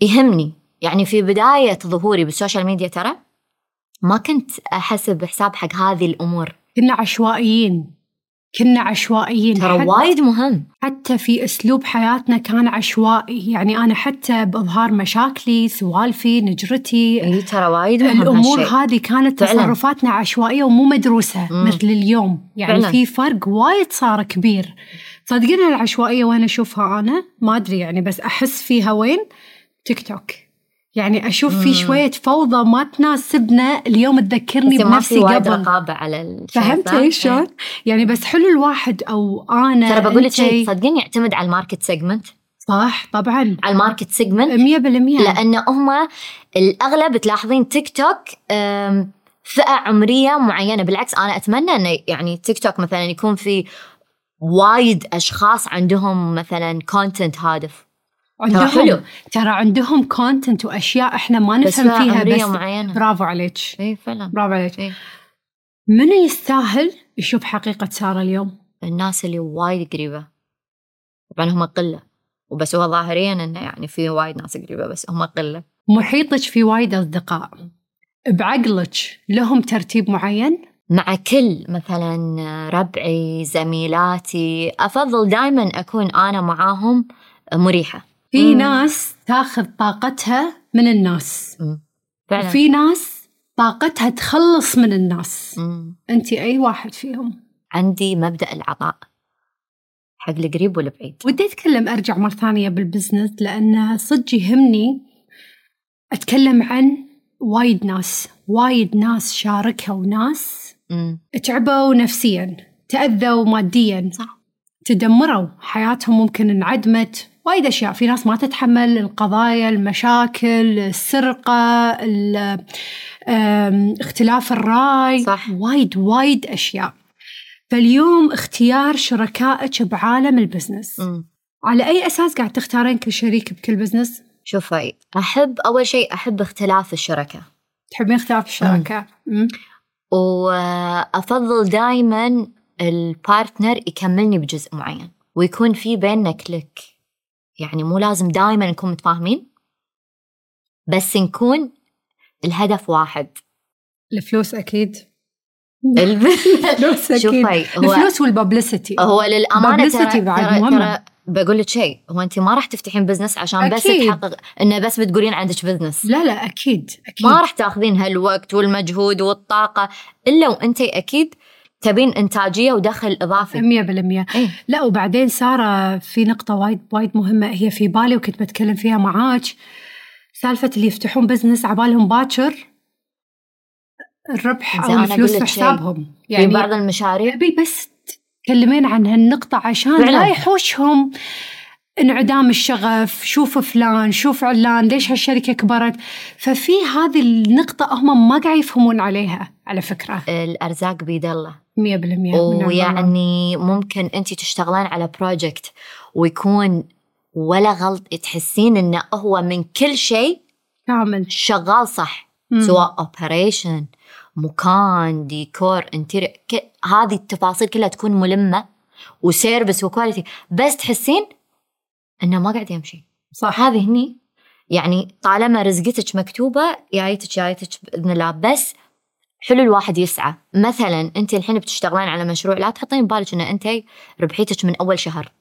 Speaker 1: يهمني يعني في بدايه ظهوري بالسوشيال ميديا ترى ما كنت احسب حساب حق هذه الامور
Speaker 2: كنا عشوائيين كنا عشوائيين
Speaker 1: ترى
Speaker 2: حت-
Speaker 1: وايد مهم
Speaker 2: حتى في اسلوب حياتنا كان عشوائي يعني انا حتى باظهار مشاكلي سوالفي نجرتي
Speaker 1: اي ترى وايد مهم
Speaker 2: الامور
Speaker 1: هالشيء.
Speaker 2: هذه كانت
Speaker 1: إيه، فعلاً.
Speaker 2: تصرفاتنا عشوائيه ومو مدروسه
Speaker 1: مم.
Speaker 2: مثل اليوم يعني
Speaker 1: فعلاً.
Speaker 2: في فرق وايد صار كبير صدقين العشوائيه وين اشوفها انا ما ادري يعني بس احس فيها وين تيك توك يعني اشوف
Speaker 1: مم.
Speaker 2: في شويه فوضى ما تناسبنا اليوم تذكرني
Speaker 1: بس ما في
Speaker 2: بنفسي
Speaker 1: وايد
Speaker 2: قبل
Speaker 1: رقابه على الشيء ذا.
Speaker 2: فهمتي شلون؟ يعني بس حلو الواحد او انا
Speaker 1: ترى بقول لك
Speaker 2: أنتي-
Speaker 1: شيء تصدقين يعتمد على الماركت سيجمنت
Speaker 2: صح طبعا
Speaker 1: على الماركت
Speaker 2: نعم.
Speaker 1: سيجمنت
Speaker 2: 100%
Speaker 1: لان هم الاغلب تلاحظين تيك توك أم، فئه عمريه معينه بالعكس انا اتمنى انه يعني تيك توك مثلا يكون في وايد اشخاص عندهم مثلا كونتنت هادف
Speaker 2: عندهم
Speaker 1: حلو.
Speaker 2: ترى عندهم كونتنت واشياء احنا ما
Speaker 1: بس
Speaker 2: نفهم
Speaker 1: فئه
Speaker 2: فيها
Speaker 1: عمريه
Speaker 2: بس
Speaker 1: معينه
Speaker 2: برافو عليك
Speaker 1: اي فعلا
Speaker 2: برافو عليك
Speaker 1: إيه.
Speaker 2: من يستاهل يشوف حقيقه ساره اليوم؟
Speaker 1: الناس اللي وايد قريبه طبعا هم قله وبس هو ظاهريا انه يعني في وايد ناس قريبه بس هم قله
Speaker 2: محيطك في وايد أصدقاء بعقلك لهم ترتيب معين
Speaker 1: مع كل مثلا ربعي زميلاتي أفضل دائما أكون أنا معاهم مريحة
Speaker 2: في
Speaker 1: مم.
Speaker 2: ناس تاخذ طاقتها من الناس
Speaker 1: فعلا
Speaker 2: وفي ناس طاقتها تخلص من الناس
Speaker 1: مم.
Speaker 2: انت اي واحد فيهم
Speaker 1: عندي مبدأ العطاء حق القريب والبعيد
Speaker 2: ودي اتكلم ارجع مره ثانيه بالبزنس لانه صدق يهمني اتكلم عن وايد ناس وايد ناس شاركوا ناس
Speaker 1: مم.
Speaker 2: تعبوا نفسيا تاذوا ماديا
Speaker 1: صح.
Speaker 2: تدمروا حياتهم ممكن انعدمت وايد اشياء في ناس ما تتحمل القضايا المشاكل السرقه ال- أم، اختلاف الراي
Speaker 1: صح.
Speaker 2: وايد وايد اشياء فاليوم اختيار شركائك بعالم البزنس
Speaker 1: مم.
Speaker 2: على اي اساس قاعد تختارين كل شريك بكل بزنس
Speaker 1: شوفي أحب أول شيء أحب اختلاف الشركة
Speaker 2: تحبين اختلاف الشركه مم.
Speaker 1: وأفضل دائما البارتنر يكملني بجزء معين ويكون في بيننا كليك يعني مو لازم دائما نكون متفاهمين بس نكون الهدف واحد
Speaker 2: الفلوس اكيد
Speaker 1: الب...
Speaker 2: الفلوس اكيد
Speaker 1: شوفي هو
Speaker 2: الفلوس والببلسيتي
Speaker 1: هو للامانه
Speaker 2: publicity
Speaker 1: ترى
Speaker 2: بعد
Speaker 1: ترى,
Speaker 2: مهمة.
Speaker 1: ترى بقول لك شيء هو انت ما راح تفتحين بزنس عشان بس
Speaker 2: أكيد.
Speaker 1: تحقق انه بس بتقولين عندك بزنس
Speaker 2: لا لا اكيد اكيد
Speaker 1: ما راح تاخذين هالوقت والمجهود والطاقه الا وانت اكيد تبين انتاجيه ودخل اضافي
Speaker 2: 100%
Speaker 1: إيه.
Speaker 2: لا وبعدين ساره في نقطه وايد وايد مهمه هي في بالي وكنت بتكلم فيها معاك سالفه اللي يفتحون بزنس عبالهم باكر الربح
Speaker 1: زين، أنا
Speaker 2: او الفلوس
Speaker 1: أقول لك
Speaker 2: في
Speaker 1: شيء.
Speaker 2: حسابهم
Speaker 1: يعني
Speaker 2: يعني
Speaker 1: في بعض المشاريع
Speaker 2: ابي بس تكلمين عن هالنقطه عشان لا
Speaker 1: فعلاً.
Speaker 2: يحوشهم انعدام الشغف شوف فلان شوف علان ليش هالشركه كبرت ففي هذه النقطه هم ما قاعد يفهمون عليها على فكره 100%
Speaker 1: الارزاق بيد الله
Speaker 2: من عند الله.
Speaker 1: ويعني ممكن انت تشتغلين على بروجكت ويكون ولا غلط تحسين انه هو من كل شيء
Speaker 2: كامل
Speaker 1: شغال صح
Speaker 2: مم.
Speaker 1: سواء اوبريشن مكان ديكور انتيريور ك- هذه التفاصيل كلها تكون ملمه وسيرفس وكواليتي بس تحسين انه ما قاعد يمشي
Speaker 2: صح
Speaker 1: هذه هني يعني طالما رزقتك مكتوبه جايتك جايتك باذن الله بس حلو الواحد يسعى مثلا انت الحين بتشتغلين على مشروع لا تحطين ببالك ان انت ربحيتك من اول شهر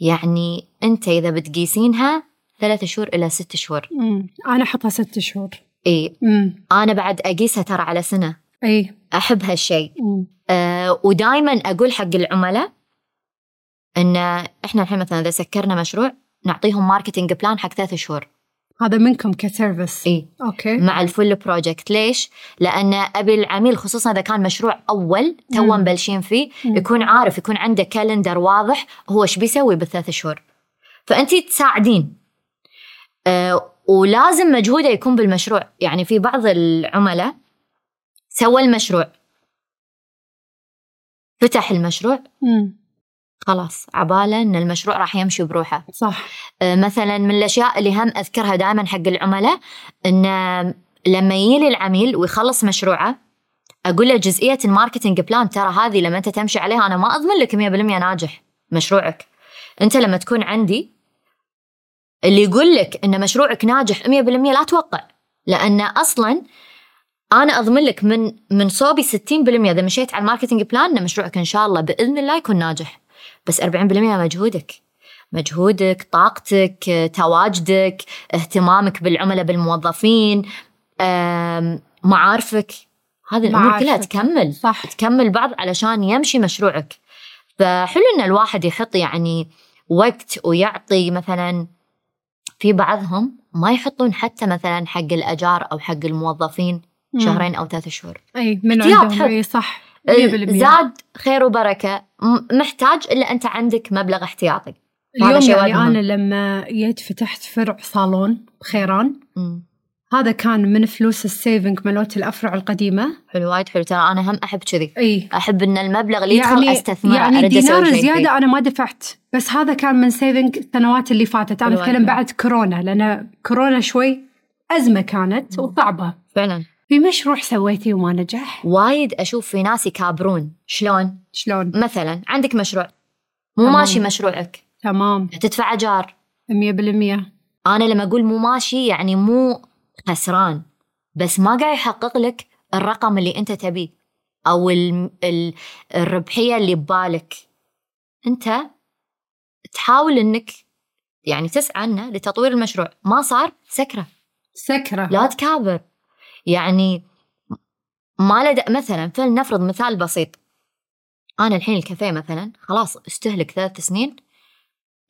Speaker 1: يعني انت اذا بتقيسينها ثلاثة شهور الى ست شهور
Speaker 2: مم. انا احطها ست شهور
Speaker 1: اي
Speaker 2: امم
Speaker 1: انا بعد اقيسها ترى على سنه
Speaker 2: اي
Speaker 1: احب هالشيء
Speaker 2: مم.
Speaker 1: أه ودائما اقول حق العملاء ان احنا الحين مثلا اذا سكرنا مشروع نعطيهم ماركتنج بلان حق ثلاثة شهور إيه.
Speaker 2: هذا منكم كسيرفس
Speaker 1: اي
Speaker 2: اوكي
Speaker 1: مع الفل بروجكت ليش؟ لأن أبي العميل خصوصا إذا كان مشروع أول تو
Speaker 2: مم.
Speaker 1: مبلشين فيه
Speaker 2: مم.
Speaker 1: يكون عارف يكون عنده كالندر واضح هو إيش بيسوي بالثلاث شهور فأنت تساعدين أه ولازم مجهوده يكون بالمشروع يعني في بعض العملاء سوى المشروع فتح المشروع
Speaker 2: مم.
Speaker 1: خلاص عباله ان المشروع راح يمشي بروحه
Speaker 2: صح
Speaker 1: مثلا آه، من الاشياء اللي هم اذكرها دائما حق العملاء ان لما يجي العميل ويخلص مشروعه اقول له جزئيه الماركتنج بلان ترى هذه لما انت تمشي عليها انا ما اضمن لك 100% ناجح مشروعك انت لما تكون عندي اللي يقول لك ان مشروعك ناجح 100% لا توقع لان اصلا انا اضمن لك من من صوبي 60% اذا مشيت على الماركتنج بلان ان مشروعك ان شاء الله باذن الله يكون ناجح بس 40% مجهودك مجهودك طاقتك آه، تواجدك اهتمامك بالعملاء بالموظفين آم، معارفك هذه الامور كلها
Speaker 2: معارفك.
Speaker 1: تكمل
Speaker 2: صح
Speaker 1: تكمل بعض علشان يمشي مشروعك فحلو ان الواحد يحط يعني وقت ويعطي مثلا في بعضهم ما يحطون حتى مثلا حق الاجار او حق الموظفين
Speaker 2: مم.
Speaker 1: شهرين او ثلاثة شهور
Speaker 2: اي من
Speaker 1: احتياط
Speaker 2: عندهم
Speaker 1: حلو.
Speaker 2: اي صح 100%
Speaker 1: زاد خير وبركه م- محتاج الا انت عندك مبلغ احتياطي هذا
Speaker 2: اليوم
Speaker 1: شيء
Speaker 2: يعني
Speaker 1: وايد مهم.
Speaker 2: انا لما جيت فتحت فرع صالون بخيران
Speaker 1: مم.
Speaker 2: هذا كان من فلوس السيفنج مالوت الافرع القديمه
Speaker 1: حلو وايد حلو ترى انا هم احب كذي
Speaker 2: اي
Speaker 1: احب ان المبلغ اللي يدخل استثمره
Speaker 2: يعني
Speaker 1: أرد أسوي
Speaker 2: دينار
Speaker 1: شيء فيه.
Speaker 2: زياده انا ما دفعت بس هذا كان من سيفنج السنوات اللي فاتت انا
Speaker 1: حلو
Speaker 2: اتكلم
Speaker 1: وايد.
Speaker 2: بعد كورونا لان كورونا شوي ازمه كانت
Speaker 1: مم.
Speaker 2: وصعبه
Speaker 1: فعلا
Speaker 2: في مشروع سويتي وما نجح
Speaker 1: وايد اشوف في ناس يكابرون شلون
Speaker 2: شلون
Speaker 1: مثلا عندك مشروع مو
Speaker 2: تمام.
Speaker 1: ماشي مشروعك
Speaker 2: تمام
Speaker 1: تدفع اجار
Speaker 2: 100%
Speaker 1: انا لما اقول مو ماشي يعني مو خسران بس ما قاعد يحقق لك الرقم اللي انت تبيه او ال- ال- الربحيه اللي ببالك انت تحاول انك يعني تسعى انه لتطوير المشروع ما صار سكره
Speaker 2: سكره
Speaker 1: لا تكابر يعني ما لدى مثلا فلنفرض مثال بسيط انا الحين الكافيه مثلا خلاص استهلك ثلاث سنين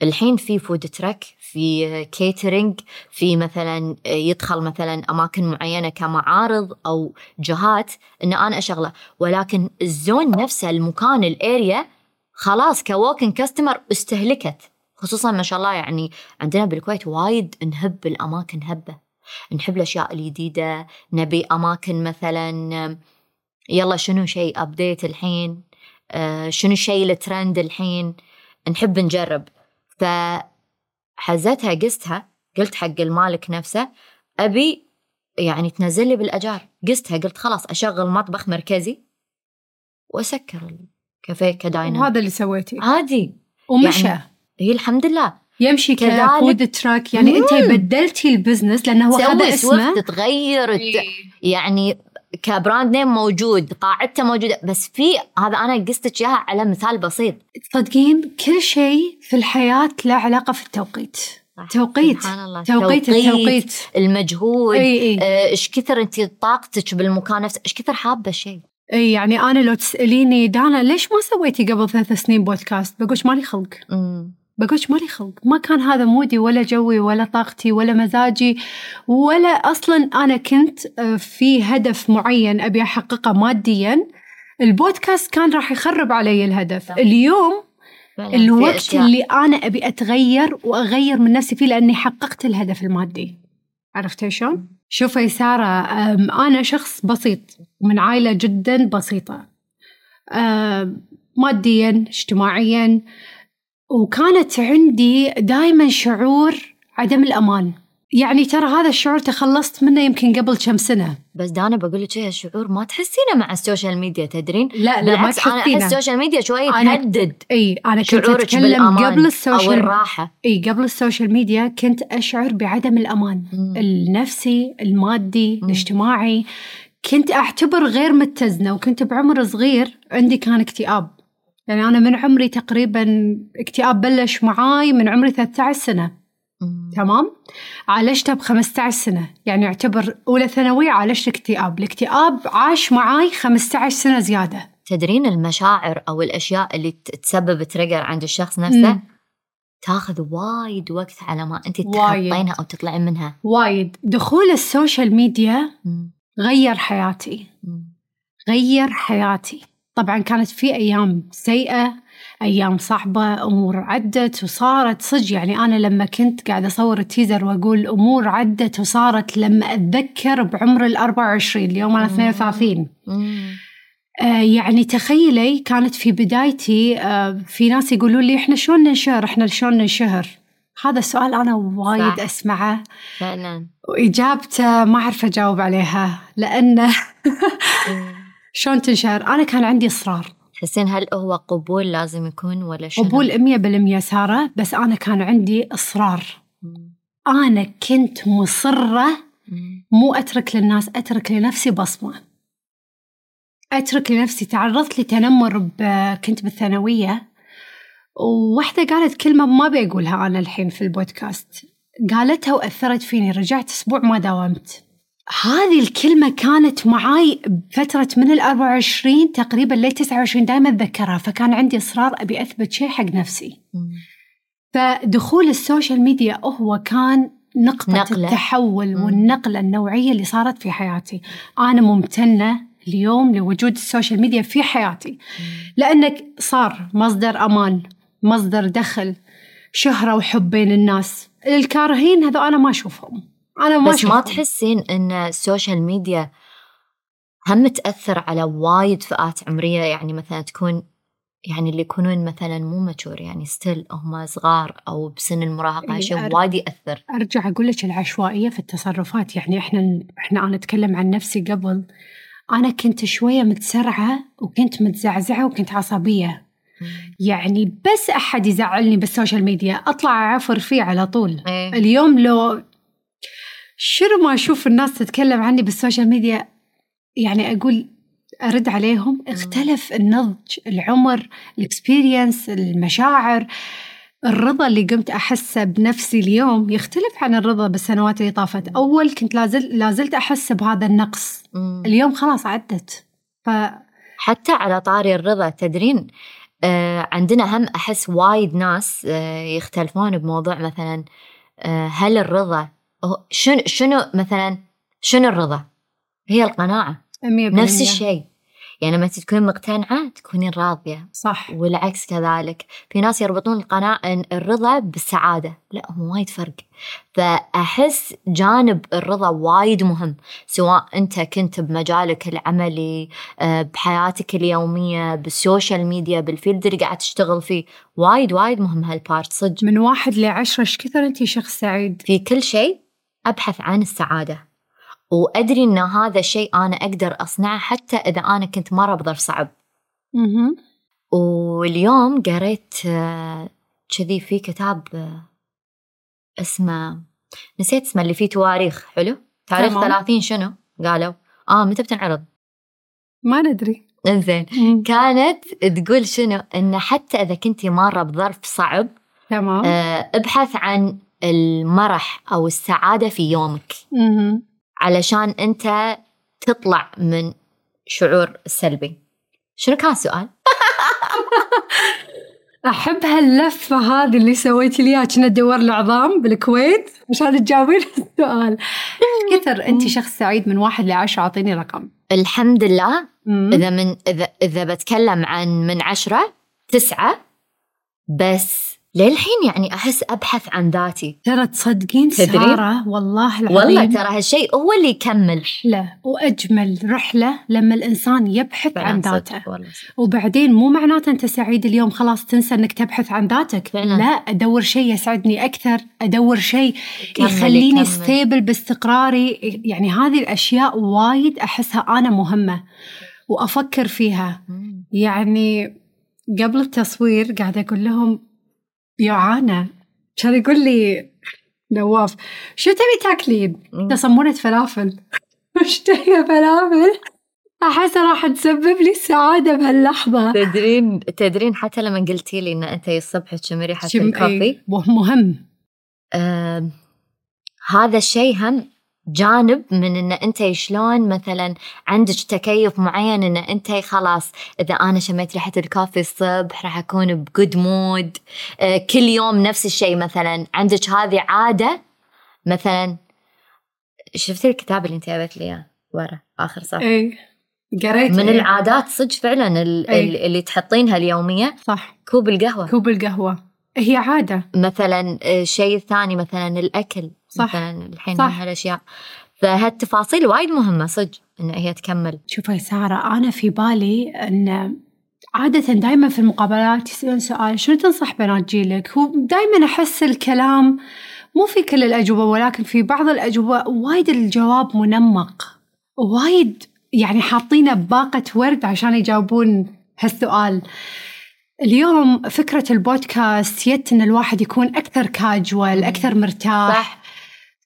Speaker 1: الحين في فود تراك في كيترينج في مثلا يدخل مثلا اماكن معينه كمعارض او جهات ان انا اشغله ولكن الزون نفسه المكان الاريا خلاص كووكن كاستمر استهلكت خصوصا ما شاء الله يعني عندنا بالكويت وايد نهب الاماكن هبه نحب الاشياء الجديده نبي اماكن مثلا يلا شنو شيء ابديت الحين آه، شنو الشيء الترند الحين نحب نجرب فحزتها قستها قلت حق المالك نفسه ابي يعني تنزل لي بالاجار قستها قلت خلاص اشغل مطبخ مركزي واسكر الكافيه كداينر
Speaker 2: وهذا اللي سويتيه
Speaker 1: يعني عادي
Speaker 2: ومشى
Speaker 1: يعني هي الحمد لله
Speaker 2: يمشي
Speaker 1: كذلك-
Speaker 2: كفود تراك يعني انت بدلتي البزنس لانه هو هذا
Speaker 1: سوي
Speaker 2: اسمه
Speaker 1: سوفت تغير الت-
Speaker 2: إيه.
Speaker 1: يعني كبراند نيم موجود قاعدته موجوده بس في هذا انا قستك اياها على مثال بسيط
Speaker 2: تصدقين كل شيء في الحياة له علاقة في التوقيت
Speaker 1: صح،
Speaker 2: توقيت
Speaker 1: سبحان الله
Speaker 2: توقيت إيه. التوقيت
Speaker 1: المجهود
Speaker 2: اي اي
Speaker 1: آه، ايش كثر انت طاقتك بالمكان نفسه ايش كثر حابه الشيء
Speaker 2: اي يعني انا لو تساليني دانا ليش ما سويتي قبل ثلاث سنين بودكاست؟ بقولش مالي خلق،
Speaker 1: أمم.
Speaker 2: بقولش مالي خلق، ما كان هذا مودي ولا جوي ولا طاقتي ولا مزاجي ولا اصلا انا كنت آه، في هدف معين ابي احققه ماديا البودكاست كان راح يخرب علي الهدف،
Speaker 1: صح.
Speaker 2: اليوم
Speaker 1: فعلاً في
Speaker 2: الوقت
Speaker 1: أشياء.
Speaker 2: اللي انا ابي اتغير واغير من نفسي فيه لاني حققت الهدف المادي. عرفتي شلون؟ شوفي ساره أم، انا شخص بسيط من عائله جدا بسيطه. أم، ماديا، اجتماعيا وكانت عندي دائما شعور عدم الامان. يعني ترى هذا الشعور تخلصت منه يمكن قبل كم سنه.
Speaker 1: بس دانا بقول لك ايه شعور ما تحسينه مع السوشيال ميديا تدرين
Speaker 2: لا لا ما
Speaker 1: بالعكس انا احس
Speaker 2: تحسينه.
Speaker 1: السوشيال ميديا شوي
Speaker 2: أنا-
Speaker 1: تهدد
Speaker 2: اي انا كنت
Speaker 1: شعورك
Speaker 2: اتكلم
Speaker 1: بالامان
Speaker 2: قبل
Speaker 1: او
Speaker 2: السوشيال
Speaker 1: الراحه
Speaker 2: اي قبل السوشيال ميديا كنت اشعر بعدم الامان
Speaker 1: أمم.
Speaker 2: النفسي المادي
Speaker 1: مم.
Speaker 2: الاجتماعي كنت اعتبر غير متزنه وكنت بعمر صغير عندي كان اكتئاب يعني انا من عمري تقريبا اكتئاب بلش معاي من عمري 13 سنه
Speaker 1: أمم.
Speaker 2: تمام عالجته ب 15 سنه يعني اعتبر اولى ثانوي عالجت اكتئاب الاكتئاب عاش معاي 15 سنه زياده
Speaker 1: تدرين المشاعر او الاشياء اللي ت- تسبب تريجر عند الشخص نفسه
Speaker 2: مم.
Speaker 1: تاخذ وايد وقت على ما انت
Speaker 2: وايد.
Speaker 1: تتخطينها او تطلعين منها
Speaker 2: وايد دخول السوشيال ميديا
Speaker 1: مم.
Speaker 2: غير حياتي
Speaker 1: مم.
Speaker 2: غير حياتي طبعا كانت في أيام سيئة أيام صعبة أمور عدت وصارت صج يعني أنا لما كنت قاعدة أصور التيزر وأقول أمور عدت وصارت لما أتذكر بعمر ال 24 اليوم أنا
Speaker 1: مم.
Speaker 2: 32
Speaker 1: مم.
Speaker 2: آه، يعني تخيلي كانت في بدايتي آه، في ناس يقولوا لي إحنا شلون ننشهر إحنا شلون ننشهر هذا السؤال أنا وايد
Speaker 1: صح.
Speaker 2: أسمعه
Speaker 1: فعلا
Speaker 2: وإجابته ما أعرف أجاوب عليها لأنه
Speaker 1: مم.
Speaker 2: شلون تنشهر أنا كان عندي إصرار
Speaker 1: تحسين هل هو قبول لازم يكون ولا شنو؟
Speaker 2: قبول 100% سارة بس أنا كان عندي إصرار
Speaker 1: مم.
Speaker 2: أنا كنت مصرة
Speaker 1: مم.
Speaker 2: مو أترك للناس أترك لنفسي بصمة أترك لنفسي تعرضت لتنمر ب- كنت بالثانوية وواحدة قالت كلمة ما بقولها أنا الحين في البودكاست قالتها وأثرت فيني رجعت أسبوع ما داومت هذه الكلمة كانت معاي بفترة من ال 24 تقريبا ل 29 دائما أتذكرها فكان عندي إصرار أبي أثبت شيء حق نفسي
Speaker 1: مم.
Speaker 2: فدخول السوشيال ميديا هو كان نقطة
Speaker 1: نقلة.
Speaker 2: نقلة. التحول
Speaker 1: مم.
Speaker 2: والنقلة النوعية اللي صارت في حياتي أنا ممتنة اليوم لوجود السوشيال ميديا في حياتي لأنك صار مصدر أمان مصدر دخل شهرة وحب بين الناس الكارهين هذا أنا ما أشوفهم أنا ما
Speaker 1: بس ما
Speaker 2: أشوفهم
Speaker 1: تحسين ان السوشيال ميديا هم تاثر على وايد فئات عمريه يعني مثلا تكون يعني اللي يكونون مثلا مو ماتشور يعني ستيل هم صغار او بسن المراهقه
Speaker 2: إي،
Speaker 1: شيء
Speaker 2: أعرف.
Speaker 1: وايد ياثر
Speaker 2: أرجع أقول لك العشوائية في التصرفات يعني إحنا إحنا أنا أتكلم عن نفسي قبل أنا كنت شوية متسرعة وكنت متزعزعة وكنت عصبية يعني بس احد يزعلني بالسوشيال ميديا اطلع اعفر فيه على طول
Speaker 1: إيه.
Speaker 2: اليوم لو شنو ما اشوف الناس تتكلم عني بالسوشيال ميديا يعني اقول ارد عليهم اختلف النضج العمر الاكسبيرينس المشاعر الرضا اللي قمت احسه بنفسي اليوم يختلف عن الرضا بالسنوات اللي طافت اول كنت لازل لازلت احس بهذا النقص
Speaker 1: مم.
Speaker 2: اليوم خلاص عدت ف
Speaker 1: حتى على طاري الرضا تدرين آه عندنا هم احس وايد ناس آه يختلفون بموضوع مثلا آه هل الرضا هو- شنو شنو مثلا شنو الرضا؟ هي القناعه
Speaker 2: 100%
Speaker 1: نفس الشيء يعني لما تكونين مقتنعه تكونين راضيه
Speaker 2: صح
Speaker 1: والعكس كذلك في ناس يربطون القناعة الرضا بالسعادة لا هو وايد فرق فأحس جانب الرضا وايد مهم سواء أنت كنت بمجالك العملي آه، بحياتك اليومية بالسوشيال ميديا بالفيلد اللي قاعد تشتغل فيه وايد وايد مهم هالبارت صدق
Speaker 2: من واحد لعشرة ايش كثر انت شخص سعيد
Speaker 1: في كل شيء أبحث عن السعادة وأدري أن هذا الشيء أنا أقدر أصنعه حتى إذا أنا كنت مرة بظرف صعب
Speaker 2: مهم.
Speaker 1: واليوم قريت آه، كذي في كتاب آه، اسمه نسيت اسمه اللي فيه تواريخ حلو تاريخ
Speaker 2: تمام.
Speaker 1: 30 شنو قالوا اه متى بتنعرض
Speaker 2: ما ندري
Speaker 1: انزين
Speaker 2: مم.
Speaker 1: كانت تقول شنو ان حتى اذا كنتي ماره بظرف صعب
Speaker 2: تمام
Speaker 1: آه، ابحث عن المرح او السعاده في يومك
Speaker 2: مهم.
Speaker 1: علشان انت تطلع من شعور السلبي شنو كان السؤال
Speaker 2: احب هاللفه هذه اللي سويتي لي اياها كنا تدور العظام بالكويت مشان تجاوبين السؤال كثر انت شخص سعيد من واحد لعشرة اعطيني رقم
Speaker 1: الحمد لله
Speaker 2: مم.
Speaker 1: إذا من إذا إذا بتكلم عن من عشرة تسعة بس للحين يعني أحس أبحث عن ذاتي
Speaker 2: ترى تصدقين
Speaker 1: تدري؟
Speaker 2: سارة والله العظيم
Speaker 1: والله ترى هالشيء هو اللي يكمل
Speaker 2: رحلة وأجمل رحلة لما الإنسان يبحث عن
Speaker 1: فعلاً صدق،
Speaker 2: ذاته
Speaker 1: والله صدق.
Speaker 2: وبعدين مو معناته انت سعيد اليوم خلاص تنسى انك تبحث عن ذاتك
Speaker 1: فعلاً.
Speaker 2: لا ادور شيء يسعدني اكثر ادور شيء
Speaker 1: كمل،
Speaker 2: يخليني
Speaker 1: كمل.
Speaker 2: ستيبل باستقراري يعني هذه الاشياء وايد احسها انا مهمه وافكر فيها
Speaker 1: مم.
Speaker 2: يعني قبل التصوير قاعده اقول لهم يعانا كان يقول لي نواف شو تبي تاكلين؟ تصمرت فلافل اشتهي فلافل احس راح تسبب لي السعاده بهاللحظه
Speaker 1: تدرين تدرين حتى لما قلتي لي ان انت الصبح تشمي ريحه
Speaker 2: شم-
Speaker 1: الكوفي
Speaker 2: إيه، مهم
Speaker 1: آم، هذا الشيء هم جانب من ان انت شلون مثلا عندك تكيف معين ان انت خلاص اذا انا شميت ريحه الكوفي الصبح راح اكون بجود مود آه، كل يوم نفس الشيء مثلا عندك هذه عاده مثلا شفتي الكتاب اللي انت جابت لي اياه ورا اخر صفحه
Speaker 2: اي إيه. قريت
Speaker 1: من
Speaker 2: إيه،
Speaker 1: العادات صدق فعلا ال-
Speaker 2: إيه.
Speaker 1: ال- اللي تحطينها اليوميه
Speaker 2: صح
Speaker 1: كوب القهوه
Speaker 2: كوب القهوه هي عاده
Speaker 1: مثلا الشيء الثاني مثلا الاكل
Speaker 2: صح.
Speaker 1: صح. مثلا الحين
Speaker 2: صح.
Speaker 1: من هالاشياء فهالتفاصيل وايد مهمه صدق ان هي تكمل
Speaker 2: شوفي ساره انا في بالي ان عادة دائما في المقابلات يسألون سؤال شنو تنصح بنات جيلك؟ ودائما أحس الكلام مو في كل الأجوبة ولكن في بعض الأجوبة وايد الجواب منمق وايد يعني حاطينه بباقة ورد عشان يجاوبون هالسؤال اليوم فكرة البودكاست يت أن الواحد يكون أكثر كاجوال أكثر مرتاح
Speaker 1: صح.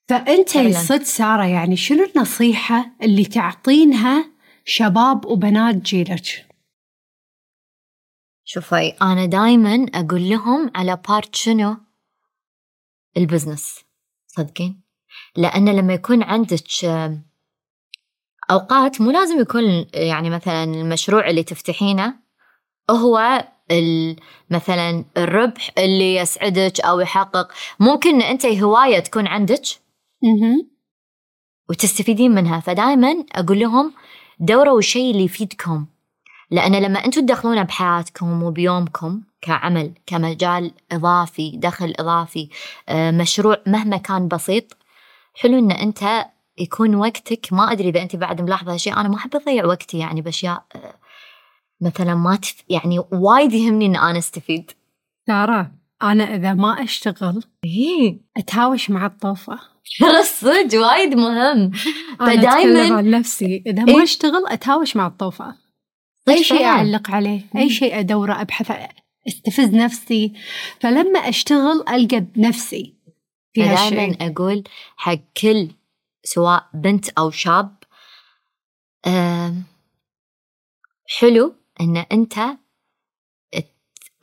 Speaker 2: فأنت
Speaker 1: فعلاً.
Speaker 2: صدق سارة يعني شنو النصيحة اللي تعطينها شباب وبنات جيلك؟
Speaker 1: شوفي انا دائما اقول لهم على بارت شنو البزنس صدقين لان لما يكون عندك آم، اوقات مو لازم يكون يعني مثلا المشروع اللي تفتحينه هو ال- مثلا الربح اللي يسعدك او يحقق ممكن ان انت هوايه تكون عندك
Speaker 2: مهم.
Speaker 1: وتستفيدين منها فدائما اقول لهم دوروا الشيء اللي يفيدكم لان لما انتم تدخلونه بحياتكم وبيومكم كعمل كمجال اضافي دخل اضافي آه، مشروع مهما كان بسيط حلو ان انت يكون وقتك ما ادري اذا انت بعد ملاحظه هالشيء انا ما احب اضيع وقتي يعني باشياء آه، مثلا ما تف... يعني وايد يهمني ان انا استفيد
Speaker 2: سارة أنا إذا ما أشتغل
Speaker 1: إيه،
Speaker 2: أتهاوش مع الطوفة
Speaker 1: ترى الصدق وايد مهم
Speaker 2: أنا
Speaker 1: فدايماً-
Speaker 2: أتكلم عن نفسي إذا ما
Speaker 1: إيه؟ طيب،
Speaker 2: أشتغل أتهاوش مع الطوفة أي شيء
Speaker 1: فعلاً.
Speaker 2: أعلق عليه أي شيء أدوره أبحث عنه. استفز نفسي فلما اشتغل القى بنفسي في هالشيء
Speaker 1: فدائما اقول حق كل سواء بنت او شاب آم، حلو ان انت ت-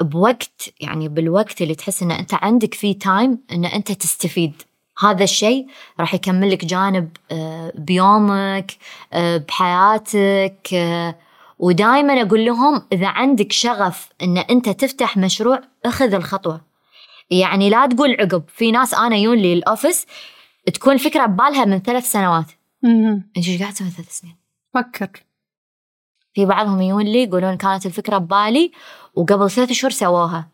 Speaker 1: بوقت يعني بالوقت اللي تحس ان انت عندك فيه تايم ان انت تستفيد هذا الشيء راح يكمل لك جانب آه، بيومك آه، بحياتك آه، ودائما اقول لهم اذا عندك شغف ان انت تفتح مشروع اخذ الخطوه يعني لا تقول عقب في ناس انا يون لي الاوفيس تكون الفكره ببالها من ثلاث سنوات
Speaker 2: مهم.
Speaker 1: انت ايش قاعد تسوي ثلاث سنين
Speaker 2: فكر
Speaker 1: في بعضهم يجون لي يقولون كانت الفكره ببالي وقبل ثلاث شهور سووها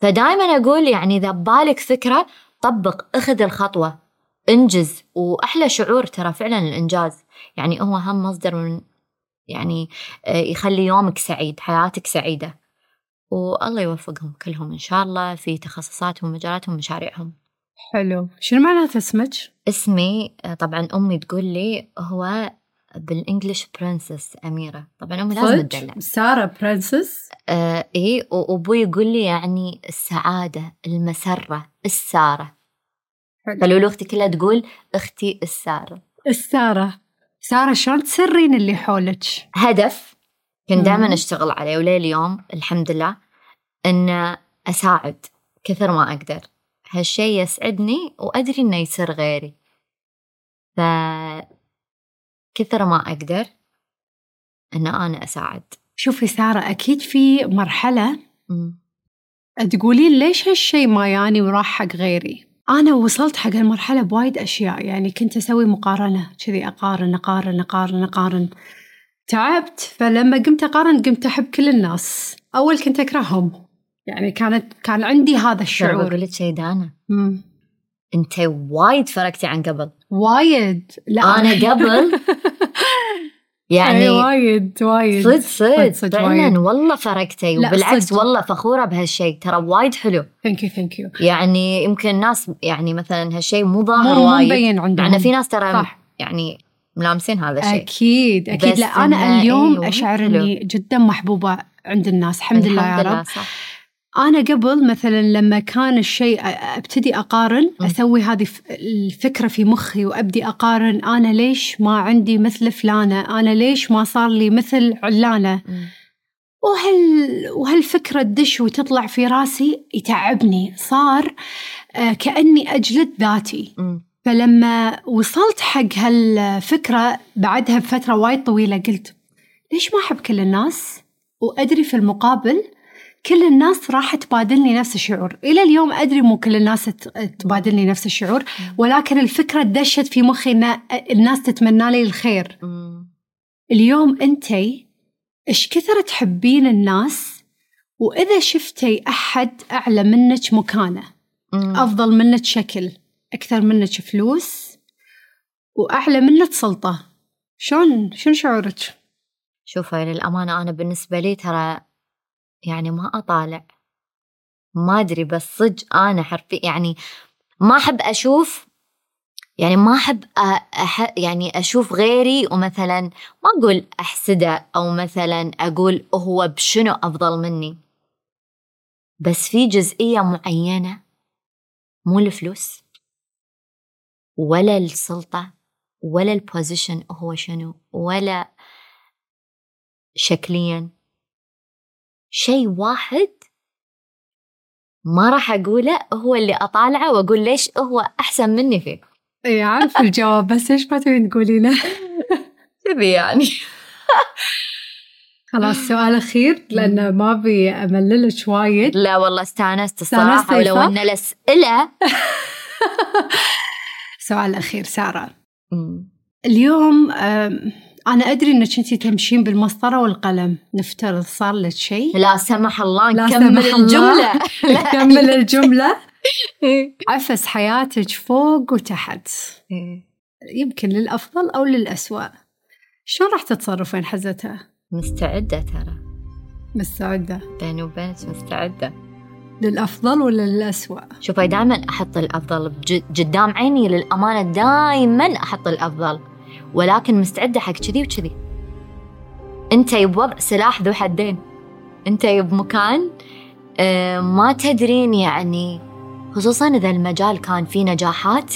Speaker 1: فدائما اقول يعني اذا ببالك فكره طبق اخذ الخطوه انجز واحلى شعور ترى فعلا الانجاز يعني هو هم مصدر من يعني آه، يخلي يومك سعيد حياتك سعيده والله يوفقهم كلهم ان شاء الله في تخصصاتهم ومجالاتهم ومشاريعهم
Speaker 2: حلو شنو معناته اسمك؟
Speaker 1: اسمي آه، طبعا امي تقول لي هو بالانجلش برنسس اميره طبعا امي لازم
Speaker 2: صدق؟
Speaker 1: تدلع
Speaker 2: ساره برنسس
Speaker 1: آه اي وابوي يقول لي يعني السعاده المسره الساره
Speaker 2: حلو.
Speaker 1: فلولو اختي كلها تقول اختي الساره
Speaker 2: الساره ساره شلون تسرين اللي حولك؟
Speaker 1: هدف كنت
Speaker 2: مم.
Speaker 1: دائما اشتغل عليه وليه اليوم الحمد لله ان اساعد كثر ما اقدر هالشي يسعدني وادري انه يسر غيري ف كثر ما اقدر ان انا اساعد
Speaker 2: شوفي ساره اكيد في مرحله
Speaker 1: مم.
Speaker 2: تقولين ليش هالشيء ما ياني وراح حق غيري؟ أنا وصلت حق المرحلة بوايد أشياء يعني كنت أسوي مقارنة كذي أقارن أقارن أقارن أقارن تعبت فلما قمت أقارن قمت أحب كل الناس أول كنت أكرههم يعني كانت كان عندي هذا
Speaker 1: ترى بقول
Speaker 2: الشعور
Speaker 1: لك شيء دانا
Speaker 2: مم.
Speaker 1: انت وايد فرقتي عن قبل
Speaker 2: وايد لا إيه،
Speaker 1: انا قبل
Speaker 2: يعني
Speaker 1: يعني
Speaker 2: وايد وايد
Speaker 1: صدق
Speaker 2: صدق-
Speaker 1: صدق
Speaker 2: صدق وايد.
Speaker 1: فعلا والله فرقتي
Speaker 2: لا،
Speaker 1: وبالعكس
Speaker 2: صدق.
Speaker 1: والله فخوره بهالشيء ترى وايد حلو
Speaker 2: ثانك يو ثانك يو
Speaker 1: يعني يمكن الناس يعني مثلا هالشيء مو ظاهر
Speaker 2: مو مو
Speaker 1: وايد
Speaker 2: مبين عندهم
Speaker 1: معنا في ناس ترى
Speaker 2: صح
Speaker 1: يعني ملامسين هذا الشيء
Speaker 2: اكيد اكيد
Speaker 1: بس
Speaker 2: لا انا
Speaker 1: إنه
Speaker 2: اليوم
Speaker 1: أيوه،
Speaker 2: اشعر
Speaker 1: حلو.
Speaker 2: اني جدا محبوبه عند الناس الحمد لله يا رب
Speaker 1: صح
Speaker 2: انا قبل مثلا لما كان الشيء أ- ابتدي اقارن
Speaker 1: م.
Speaker 2: اسوي هذه ف- الفكره في مخي وابدي اقارن انا ليش ما عندي مثل فلانه انا ليش ما صار لي مثل علانه
Speaker 1: مم.
Speaker 2: وهال وهالفكره تدش وتطلع في راسي يتعبني صار آه، كاني اجلد ذاتي
Speaker 1: مم.
Speaker 2: فلما وصلت حق هالفكرة بعدها بفترة وايد طويلة قلت ليش ما أحب كل الناس وأدري في المقابل كل الناس راح تبادلني نفس الشعور إلى اليوم أدري مو كل الناس ت- تبادلني نفس الشعور ولكن الفكرة دشت في مخي أن الناس تتمنى لي الخير
Speaker 1: مم.
Speaker 2: اليوم أنتي إيش كثر تحبين الناس وإذا شفتي أحد أعلى منك مكانه
Speaker 1: مم.
Speaker 2: أفضل منك شكل أكثر منك فلوس وأعلى منك سلطة شلون شنو شعورك؟
Speaker 1: شوفي للأمانة أنا بالنسبة لي ترى يعني ما أطالع ما أدري بس صدق أنا حرفيا يعني ما أحب أشوف يعني ما أحب أ- أح يعني أشوف غيري ومثلا ما أقول أحسده أو مثلا أقول هو بشنو أفضل مني بس في جزئية معينة مو الفلوس ولا السلطة ولا البوزيشن هو شنو ولا شكليا شيء واحد ما راح اقوله هو اللي اطالعه واقول ليش هو احسن مني فيه
Speaker 2: اي عارف الجواب بس ليش ما تبين تقولينه؟
Speaker 1: كذي يعني
Speaker 2: خلاص سؤال اخير لان ما ابي امللك وايد
Speaker 1: لا والله استانست
Speaker 2: استانستي،
Speaker 1: الصراحه ولو
Speaker 2: صح؟
Speaker 1: ان الاسئله
Speaker 2: سؤال اخير ساره
Speaker 1: أمم،
Speaker 2: اليوم أم، انا ادري انك انت تمشين بالمسطره والقلم نفترض صار لك شيء
Speaker 1: لا سمح الله
Speaker 2: لا
Speaker 1: نكمل
Speaker 2: سمح الله.
Speaker 1: الجمله لا.
Speaker 2: كمل الجمله
Speaker 1: إيه.
Speaker 2: عفس حياتك فوق وتحت يمكن للافضل او للاسوء شلون راح تتصرفين حزتها؟
Speaker 1: مستعده ترى
Speaker 2: مستعدة
Speaker 1: بيني وبينك مستعده
Speaker 2: للأفضل ولا للأسوأ؟
Speaker 1: شوفي دائما احط الافضل بج- قدام عيني للامانه دائما احط الافضل ولكن مستعده حق كذي وكذي انت بوضع سلاح ذو حدين انت بمكان آه، ما تدرين يعني خصوصا إذا المجال كان فيه نجاحات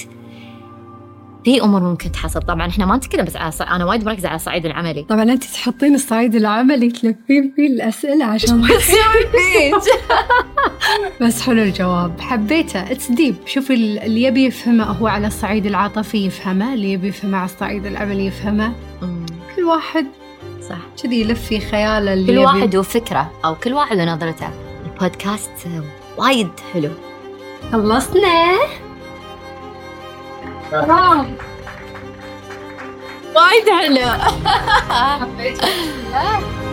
Speaker 1: في أمور ممكن تحصل طبعا إحنا ما نتكلم بس على صع- أنا وايد مركزة على الصعيد العملي
Speaker 2: طبعا انت تحطين الصعيد العملي تلفين فيه الاسئله عشان ما بس حلو الجواب حبيته اتس ديب شوفي ال- اللي يبي يفهمه هو على الصعيد العاطفي يفهمه اللي يبي يفهمه على الصعيد العملي يفهمه
Speaker 1: أمم،
Speaker 2: كل واحد
Speaker 1: صح
Speaker 2: كذي يلف في خياله اللي
Speaker 1: كل
Speaker 2: يبي.
Speaker 1: واحد وفكرة أو كل واحد ونظرته البودكاست آه، وايد حلو
Speaker 2: خلصنا آه.
Speaker 1: وايد حلو
Speaker 2: حبيت